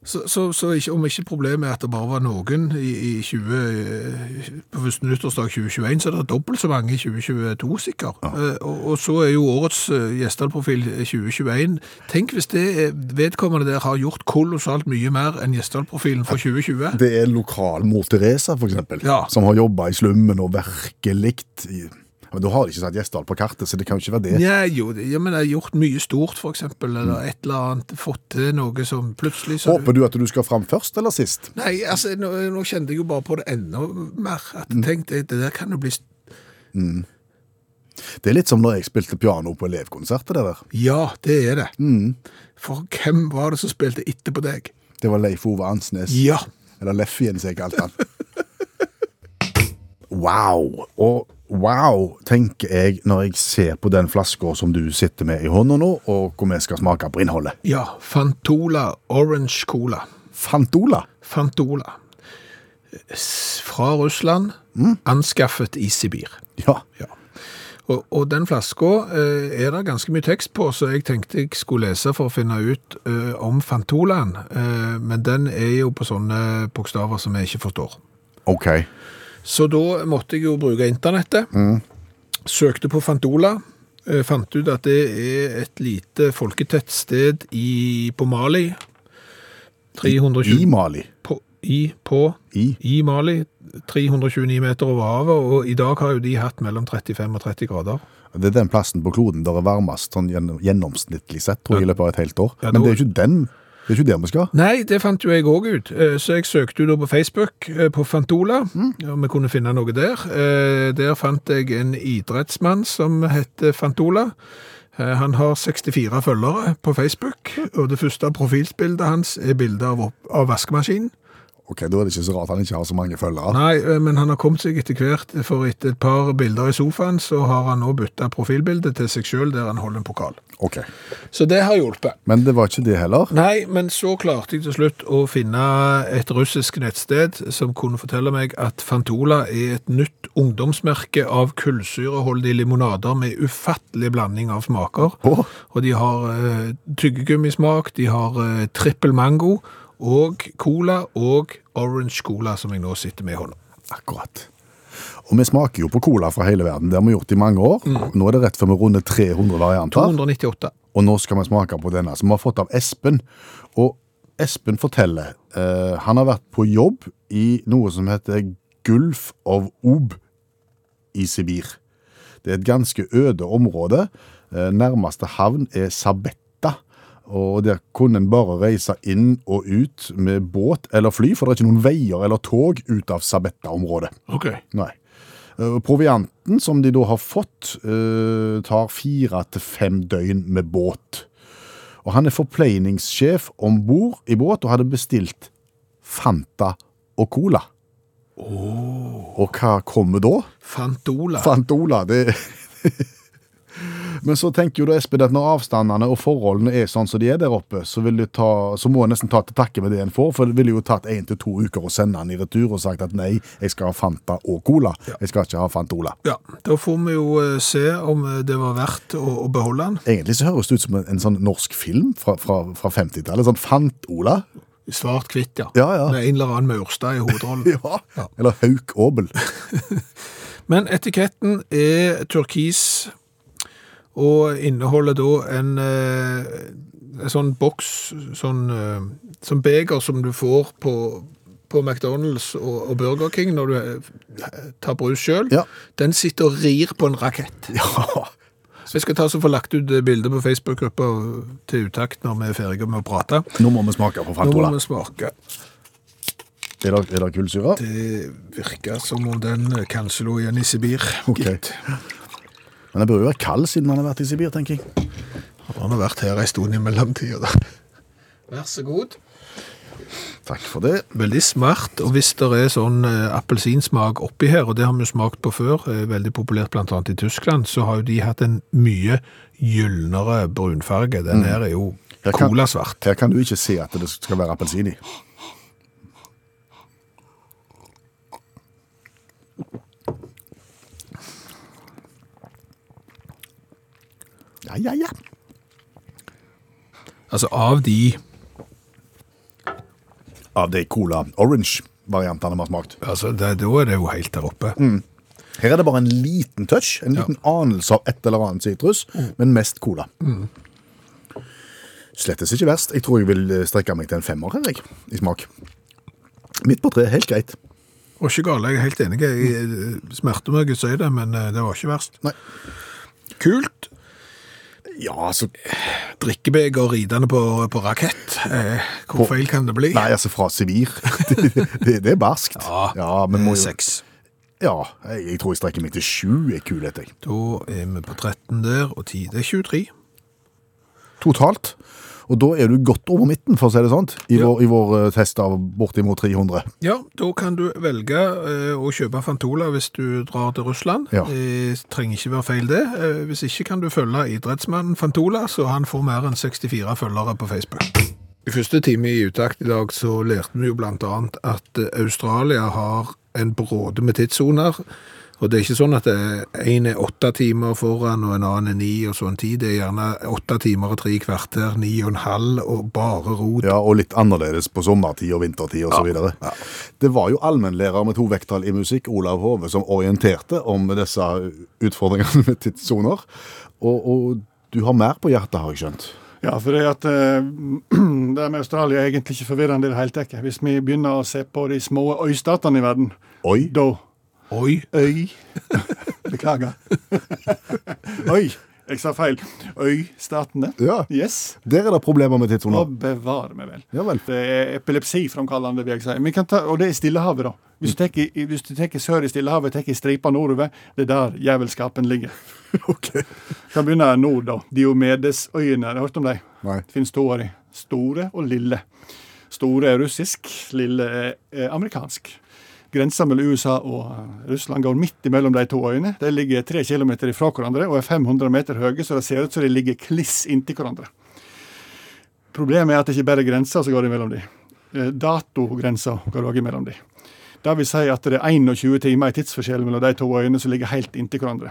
Så, så, så ikke, om ikke problemet er at det bare var noen i, i 20, eh, på første nyttårsdag 2021, så er det dobbelt så mange i 2022 sikkert. Eh, og, og så er jo årets eh, Gjesdal-profil 2021. Tenk hvis det er- vedkommende der har gjort kolossalt mye mer enn Gjesdal-profilen for 2020.
Det er lokal Mor Teresa, for eksempel,
Ja.
som har jobba i slummen og virkelig i- Men da har de ikke satt Gjesdal på kartet, så det kan jo ikke være det.
Nei, jo, det- ja, men jeg har gjort mye stort for eksempel, eller et eller annet, fått til noe som plutselig... så-
Håper du at du skal fram først eller sist?
Nei, altså, nå, nå kjente jeg jo bare på det enda mer, at
Mm.
jeg tenkte, det der kan jo bli... st-
Det er litt som når jeg spilte piano på elevkonsert. Det der.
Ja, det er det. For hvem var det som spilte etterpå deg?
Det var Leif Ove Ansnes.
Ja.
Eller Leffien, som jeg kalte han. Wow. Og wow, tenker jeg når jeg ser på den flaska som du sitter med i hånda nå, og hvor vi skal smake på innholdet.
Ja, Fantola Orange Cola.
Fantola.
Fantola. S- Fra Russland, anskaffet i Sibir.
Ja.
Og, og den flaska eh, er det ganske mye tekst på, så jeg tenkte jeg skulle lese for å finne ut eh, om Fantolaen. Eh, men den er jo på sånne bokstaver som jeg ikke forstår.
OK.
Så da måtte jeg jo bruke internettet.
Mm.
Søkte på Fantola. eh, Fant ut at det er et lite folketett sted i, på Mali. 320
I Mali.
på, i, på,
I.
i Mali, 329 meter over havet, og i dag har jo de hatt mellom 35 og 30 grader.
Det er den plassen på kloden der det er varmest sånn gjennom- gjennomsnittlig sett, tror jeg, i løpet av et helt år.
Ja,
Men det
da-
er jo ikke den. Det er ikke der vi skal.
Nei, det fant jo jeg òg ut, Eh, så jeg søkte jo da på Facebook eh, på Fantola, om vi kunne finne noe der. Eh, Der fant jeg en idrettsmann som heter Fantola. Eh, Han har 64 følgere på Facebook, og det første profilbildet hans er bilde av, opp- av vaskemaskinen.
Ok, Da er det ikke så rart han ikke har så mange følgere.
Nei, eh, men han har kommet seg etter hvert, eh, for etter et par bilder i sofaen, så har han nå bytta profilbilde til seg sjøl, der han holder en pokal.
Ok,
Så det har hjulpet.
Men det var ikke det heller.
Nei, men så klarte jeg til slutt å finne et russisk nettsted som kunne fortelle meg at Fantola er et nytt ungdomsmerke av kullsyreholdige limonader med ufattelig blanding av smaker.
Åh.
Og de har eh, tyggegummismak, de har eh, trippel mango og cola og orange cola, som jeg nå sitter med i hånda.
Akkurat. Og vi smaker jo på cola fra hele verden. Det har vi gjort i mange år.
Mm.
Nå er det rett før vi runder 300 varianter.
298.
Og nå skal vi smake på denne, som vi har fått av Espen. Og Espen forteller eh, han har vært på jobb i noe som heter Gulf of Ob i Sibir. Det er et ganske øde område. Eh, nærmeste havn er Sabetta. Og der kunne en bare reise inn og ut med båt eller fly, for det er ikke noen veier eller tog ut av Sabetta-området.
Ok.
Nei. Eh, Provianten som de da har fått, eh, tar fire til fem døgn med båt. Og han er forpleiningssjef om bord i båt og hadde bestilt Fanta og Cola. Og hva kommer da?
Fantola.
Fantola, det Men så tenker jo da Espen at når avstandene og forholdene er sånn som de er der oppe, så, vil det ta, så må en nesten ta til takke med det en får, for det ville jo tatt én til to uker å sende han i retur og sagt at nei, jeg skal ha Fanta og Cola. Jeg skal ikke ha Fantola.
Ja, da får vi jo eh, se om eh, det var verdt å, å beholde den.
Egentlig så høres det ut som en, en sånn norsk film fra, fra, fra 50-tallet. Sånn Fant-Ola.
Svart kvitt, ja.
Ja, ja.
Med en eller annen Maurstad i hovedrollen.
[LAUGHS] [LAUGHS] Ja. Eller Hauk Aabel.
Men etiketten er turkis og inneholder da en, eh, en sånn boks, sånn, eh, sånn beger som du får på, på McDonald's og, og Burger King når du eh, tar brus sjøl.
Ja.
Den sitter og rir på en rakett.
[LAUGHS] Ja.
Jeg skal ta så få lagt ut eh, bilder på Facebook-gruppa til utakt når vi er ferdige med å prate.
Nå må vi smake på
Nå må
Fantola.
vi smake.
Er det, er det kullsyre?
Det virker som om den eh, kanskje lå igjen i Sibir.
[LAUGHS] Ok.
gitt.
Men den bør jo være kald siden han har vært i Sibir, tenker jeg.
Han har vært her en stund i mellomtida. da. Vær så god.
Takk for det.
Veldig smart. Og hvis det er sånn eh, appelsinsmak oppi her, og det har vi jo smakt på før, eh, veldig populært bl.a. i Tyskland, så har jo de hatt en mye gylnere brunfarge. Den her er jo
Her Mm. kan-
colasvart.
Her kan du ikke se at det skal være appelsin i. Ja, ja, ja.
Altså av de
Av de cola orange-variantene vi har smakt.
altså det, Da er det jo helt der oppe.
Mm. Her er det bare en liten touch, en liten anelse av et eller annet sitrus, men mest cola. Slettes ikke verst. Jeg tror jeg vil eh, strekke meg til en femmer her, jeg, i smak. Midt på treet, helt greit.
Og ikke gale, jeg er helt enig. Jeg eh, smerter meg å si det, men eh, det var ikke verst.
Nei.
Kult.
Ja, altså
Drikkebeger ridende på, på rakett. Eh, hvor feil kan det bli?
Nei, altså fra Sivir. [LAUGHS] det, det, det er barskt.
Ja, Eh,
men må jo-
Seks.
Ja, jeg, jeg tror jeg strekker meg til sju er kulhet, jeg.
Da er vi på 13 der, og 10 det er 23.
Totalt. Og da er du godt over midten, for å si det sånn, i,
Ja.
vår, i vår eh, test av bortimot 300.
Ja, da kan du velge eh, å kjøpe Fantola hvis du drar til Russland.
Ja.
Det trenger ikke være feil det. Eh, hvis ikke kan du følge idrettsmannen Fantola, så han får mer enn 64 følgere på Facebook. I første time i Utakt i dag så lærte vi jo blant annet at eh, Australia har en bråde med tidssoner, Og det er ikke sånn at det- en er åtte timer foran, og en annen er ni, og sånn tid. Det er gjerne åtte timer og tre kvarter, ni og en halv, og bare rot.
Ja, og litt annerledes på sommertid og vintertid osv. videre. Det var jo allmennlærer med to vekttall i musikk, Olav Hove, som orienterte om disse utfordringene med tidssoner. Og, og du har mer på hjertet, har jeg skjønt.
Ja, for det, at, eh, [CLEARS THROAT] det med Australia er egentlig ikke forvirrende i det hele tatt. Hvis vi begynner å se på de små øystatene i verden,
Oi,
da
Oi,
Øy [LAUGHS]
[LAUGHS]
Beklager. Øy. Jeg sa feil. Øystatene.
Ja.
Yes.
der er det problemer med
Å
tidssoner.
bevare meg vel.
Ja vel.
Det er epilepsiframkallende, vil jeg si. Men vi kan ta, og det er Stillehavet, da. Hvis
Mm.
du tek i- hvis du tar sør i Stillehavet, tar stripa nordover, det er der jævelskapen ligger.
[LAUGHS] Ok.
Kan begynne nord, da. Diomedesøyene, har du hørt om dem?
Nei.
Det finnes to av dem. Store og lille. Store er russisk, lille er eh, amerikansk. Grensa mellom USA og eh, Russland går midt imellom de to øyene. De ligger tre kilometer ifra hverandre og er 500 meter høye, så det ser ut som de ligger kliss inntil hverandre. Problemet er at det ikke bare er grensa som går imellom de. Eh, Datogrensa går òg imellom de. Det vil si at det er 21 timer i tidsforskjell mellom de to øyene som ligger helt inntil hverandre.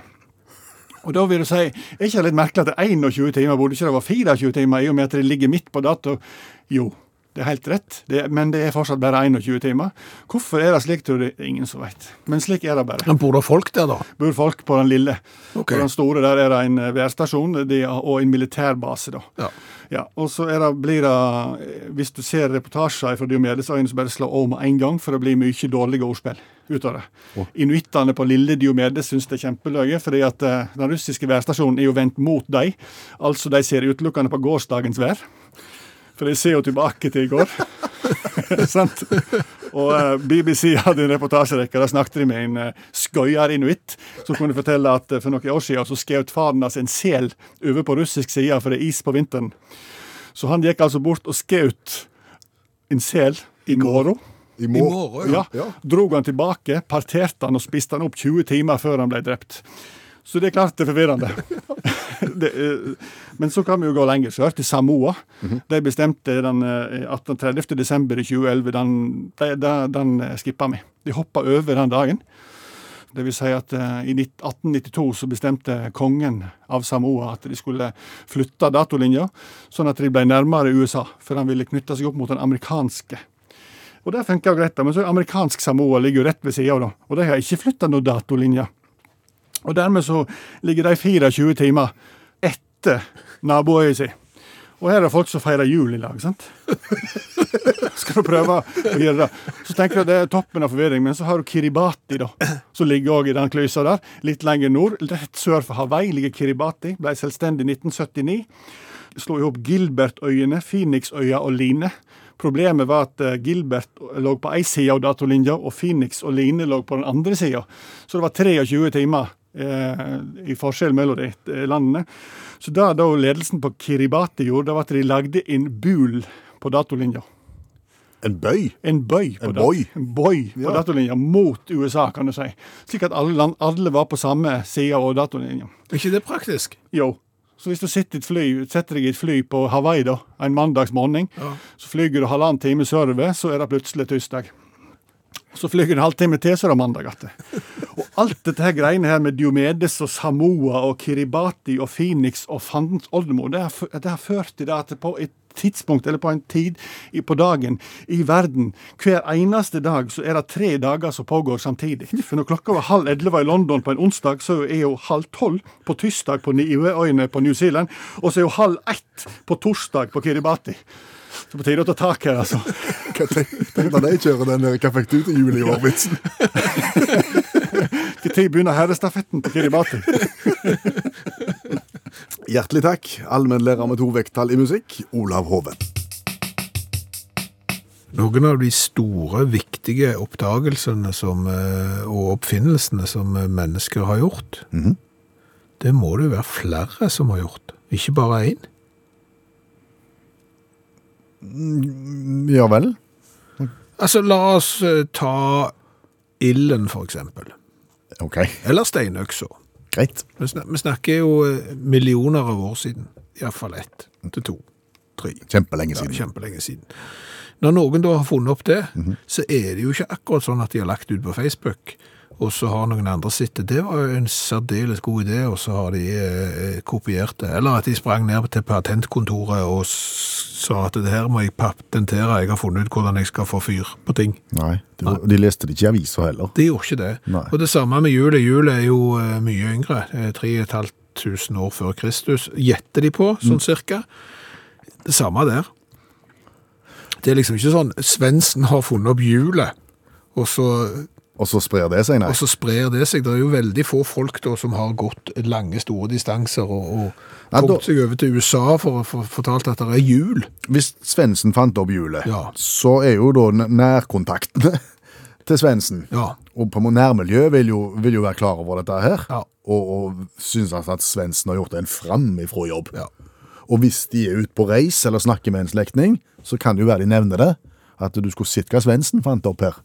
Og da vil du si, er ikke det litt merkelig at det er 21 timer, burde ikke det være 24 timer, i og med at det ligger midt på dato? Jo, det er helt rett, det, men det er fortsatt bare 21 timer. Hvorfor er det slik, tror du? Det er Ingen som vet. Men slik er det bare.
men bor det folk der da?
Bor folk på den lille.
Ok.
På den store der er det en eh, værstasjon de, og en militærbase, da.
Ja.
Ja, og så er det, blir det, eh, hvis du ser reportasjer fra Diomedesøyene, så bare slå over med en gang, for det blir mye dårlige ordspill ut av det. Inuittene på lille Diomedes syns det er kjempeløye, fordi at eh, den russiske værstasjonen er jo vendt mot dem. Altså, de ser utelukkende på gårsdagens vær. For de ser jo tilbake til i går. [LAUGHS] Sant? Og eh, BBC hadde en reportasjerekke. Der snakket de med en eh, skøyer-inuitt som kunne fortelle at eh, for noen år siden så skjøt faren hans en sel over på russisk side, for det er is på vinteren. Så han gikk altså bort og skjøt en sel i morgen.
I
I
morgen.
morgen, ja.
Ja, Drog han tilbake, parterte han og spiste han opp 20 timer før han ble drept. Så det er klart det er forvirrende. det, eh, men så kan vi jo gå lenger sør, til Samoa. De bestemte den eh, 18. 30. desember i 2011, den, de- de- den, eh, skippa vi. De hoppa over den dagen. Det vil si at eh, i nitt- 1892 så bestemte kongen av Samoa at de skulle flytte datolinja, sånn at de ble nærmere USA, for han ville knytte seg opp mot den amerikanske og det funker jo greit, da, men så er amerikansk Samoa ligger jo rett ved sida av, da. Og de har ikke flytta noen datolinje. Og dermed så ligger de 24 timer etter naboøya si. Og her er det folk som feirer jul i lag, sant? [LAUGHS] Skal du prøve å gjøre det? Så tenker du det er toppen av forvirring, men så har du Kiribati, da. Som ligger òg i den klysa der. Litt lenger nord, rett sør for Hawaii, ligger Kiribati. Ble selvstendig i 1979 slo ihop Gilbertøyene, Phoenixøya og Line. Problemet var at eh, Gilbert lå på én side av datolinja, og Phoenix og Line lå på den andre sida. Så det var 23 timer eh, i forskjell mellom de eh, landene. Så det da ledelsen på Kiribati gjorde, det var at de lagde en bul på datolinja.
En bøy.
En bøy på,
En
dat-
bøy.
en bøy på
Ja.
datolinja mot USA, kan du si. Slik at alle, land, alle var på samme side av datolinja.
Er ikke det praktisk?
Jo. Så hvis du sitter i et fly, setter deg i et fly på Hawaii da, en mandags morgen, så flyger du halvannen time sørover, så er det plutselig tirsdag. Så flyger du en halvtime til, så er det mandag igjen. Og alt dette her greiene her med Diomedes og Samoa og Kiribati og Phoenix og fandens oldemor, det har, f- det har ført til det at på et tidspunkt, eller på en tid i- på dagen i verden, hver eneste dag så er det tre dager som pågår samtidig. For når klokka var halv elleve i London på en onsdag, så er jo halv tolv på tirsdag på Niueøyene på New Zealand, og så er jo halv ett på torsdag på Kiribati. Så på tide å ta tak her, altså.
Hva tenkte du de kjører den der 'Hva fikk du til jul i år?'-vitsen?
Når begynner herrestafetten på Kiribati?
[LAUGHS] Hjertelig takk, allmennlærer med to vekttall i musikk, Olav Hove.
Noen av de store, viktige oppdagelsene som, eh, og oppfinnelsene som eh, mennesker har gjort, det må det jo være flere som har gjort, ikke bare én.
Ja vel?
Altså, la oss eh, ta ilden, for eksempel,
Ok,
eller steinøksa.
greit.
Vi snak- vi snakker jo eh, millioner av år siden, iallfall ett til to, tre.
Kjempelenge
Ja,
siden.
kjempelenge siden. Når noen da har funnet opp det, så er det jo ikke akkurat sånn at de har lagt ut på Facebook, og så har noen andre sett det. Det var jo en særdeles god idé, og så har de eh, kopiert det. Eller at de sprang ned til patentkontoret og s- sa at det her må jeg patentere, jeg har funnet ut hvordan jeg skal få fyr på ting.
Nei, det var, De leste det ikke i avisa heller.
De gjorde ikke det.
Nei.
Og det samme med julet. Julet er jo eh, mye yngre. eh, 3500 år før Kristus. Gjetter de på,
Mm.
sånn cirka. Det samme der. Det er liksom ikke sånn Svendsen har funnet opp hjulet, og så,
Og så sprer det seg, nei.
og så sprer det seg. Det er jo veldig få folk da som har gått lange, store distanser og, og
Ja, da-
kommet seg over til USA for å få fortalt at det er hjul.
Hvis Svendsen fant opp hjulet,
Ja.
så er jo da n- nærkontaktene [LAUGHS] til Svendsen
Ja.
Og på må- nærmiljøet vil jo, vil jo være klar over dette her,
Ja.
og, og syns altså at Svendsen har gjort en framifrå jobb.
Ja.
Og hvis de er ute på reis eller snakker med en slektning, så kan det jo være de nevner det. At du skulle sett hva Svendsen fant opp her.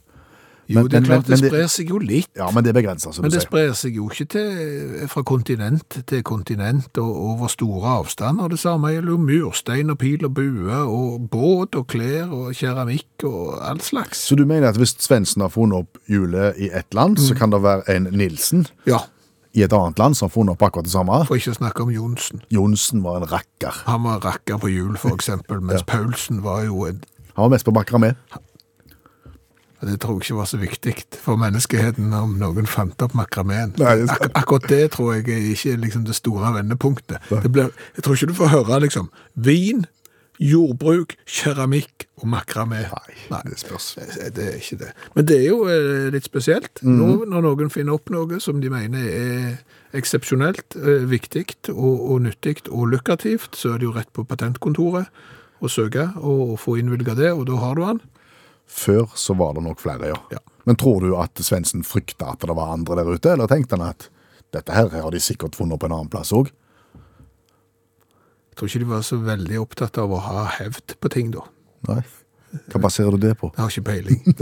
Jo,
Men-
det
men-
er klart,
men-
det
men det-
sprer seg jo litt.
Ja, men det er begrensa, som
Men
du
det
sier.
sprer seg jo ikke til, fra kontinent til kontinent og over store avstander. Det samme gjelder jo murstein og pil og bue og båt og klær og keramikk og all slags.
Så du mener at hvis Svendsen har funnet opp hjulet i ett land,
Mm.
så kan det være en Nilsen
Ja,
i et annet land som har funnet opp akkurat det samme?
for ikke å snakke om Johnsen.
Johnsen var en rakker.
Han var rakker på hjul, for eksempel, mens Paulsen var jo en
Han var mest på makramé.
Det tror jeg ikke var så viktig for menneskeheten om noen fant opp makrameen.
Nei, det er sant.
Ak akkurat det tror jeg er ikke er liksom det store vendepunktet. Det blir, jeg tror ikke du får høre liksom vin, jordbruk, keramikk og makramé.
det spørs.
Det, det er ikke det. Men det er jo eh, litt spesielt
Mhm.
nå, når noen finner opp noe som de mener er eksepsjonelt, eh, viktig og, og nyttig og lukrativt, så er det jo rett på patentkontoret å søke og få innvilget det, og da har du han.
Før så var det nok flere, ja.
Ja.
Men tror du at Svendsen frykta at det var andre der ute, eller tenkte han at dette her har de sikkert funnet på en annen plass òg?
Jeg tror ikke de var så veldig opptatt av å ha hevd på ting, da.
Nei. Hva baserer du det på?
Jeg har ikke [LAUGHS] peiling.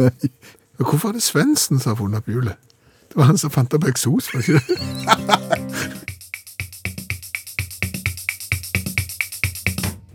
Men Hvorfor er det Svendsen som har funnet opp hjulet? Det var han som fant opp eksos, var det ikke det?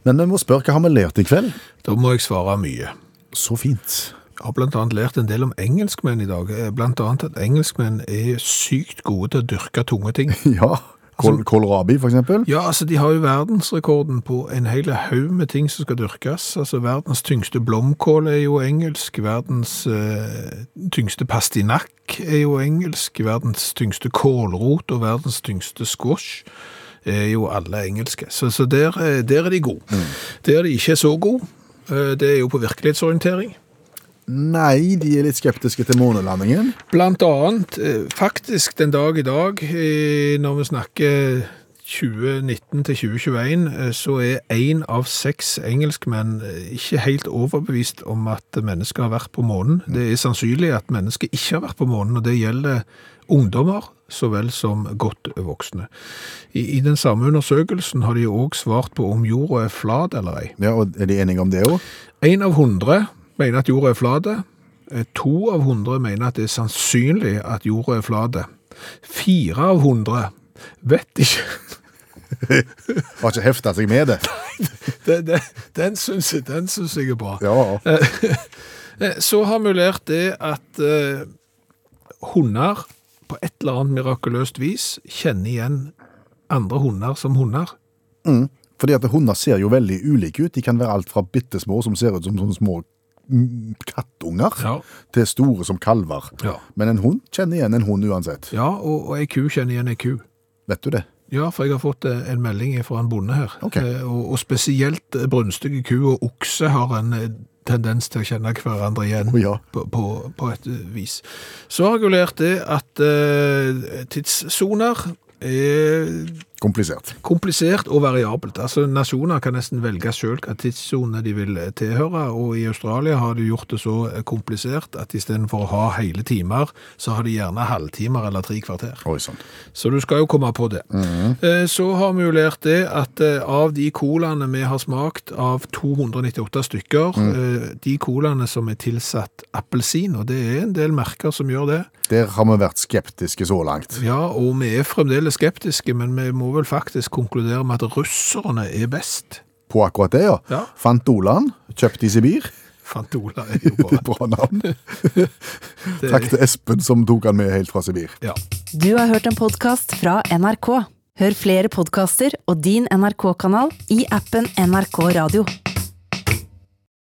Men vi må spørre hva har vi lært i kveld?
Da må jeg svare mye.
Så fint.
Jeg har blant annet lært en del om engelskmenn i dag. Eh, Blant annet at engelskmenn er sykt gode til å dyrke tunge ting.
Ja. Altså- Kål, kålrabi, for eksempel.
Ja, altså de har jo verdensrekorden på en hel haug med ting som skal dyrkes. Altså verdens tyngste blomkål er jo engelsk, verdens eh, tyngste pastinakk er jo engelsk, verdens tyngste kålrot og verdens tyngste squash er jo alle engelske. Så, så der, eh, der er de gode. Der de ikke er så gode, eh, det er jo på virkelighetsorientering.
Nei, de er litt skeptiske til månelandingen.
Blant annet, eh, faktisk den dag i dag, eh, når vi snakker 2019 til 2021, eh, så er én av seks engelskmenn eh, ikke helt overbevist om at mennesker har vært på månen. Det er sannsynlig at mennesker ikke har vært på månen, og det gjelder ungdommer så vel som godt voksne. I, i den samme undersøkelsen har de òg svart på om jorda er flat eller ei.
Ja, og Er de enige om det òg?
En av hundre mener at jorda er flate. Eh, To av hundre mener at det er sannsynlig at jorda er flate. Fire av hundre vet ikke. [LAUGHS]
Har ikke hefta seg med det.
Den, den, den, syns, jeg- den syns jeg er bra.
Ja,
Eh, Så har vi lært det at eh, hunder på et eller annet mirakuløst vis kjenner igjen andre hunder som hunder.
Fordi at hunder ser jo veldig ulike ut. De kan være alt fra bitte små, som ser ut som sånne små mm, kattunger,
Ja.
til store som kalver.
Ja.
Men en hund kjenner igjen en hund uansett.
Ja, og, og ei ku kjenner igjen ei ku.
Vet du det?
Ja, for jeg har fått eh, en melding fra en bonde her.
Ok.
Eh, Og, og spesielt eh, brunstige ku og okse har en eh, tendens til å kjenne hverandre igjen
Å ja.
på, på, på et eh, vis. Så har jeg jo lært det at eh, tidssoner er
Komplisert.
komplisert og variabelt. Altså Nasjoner kan nesten velge selv hva tidssone de vil eh, tilhøre, og i Australia har de gjort det så eh, komplisert at istedenfor å ha hele timer, så har de gjerne halvtimer eller tre kvarter.
Oi sånn. sann.
Så du skal jo komme på det. Eh, Så har vi jo lært det at eh, av de colaene vi har smakt, av 298 stykker, eh, de colaene som er tilsatt appelsin, og det er en del merker som gjør det,
Der har vi vært skeptiske så langt.
ja, og vi er fremdeles skeptiske, men vi må vel faktisk konkludere med at russerne er best.
På akkurat det, ja.
Ja.
Fant Dolan, kjøpt i Sibir.
Fantola er jo
[LAUGHS]
bra.
Bra
[LAUGHS]
navn. Takk til Espen som tok han med helt fra Sibir.
Ja.
Du har hørt en podkast fra NRK. Hør flere podkaster og din NRK-kanal i appen NRK Radio.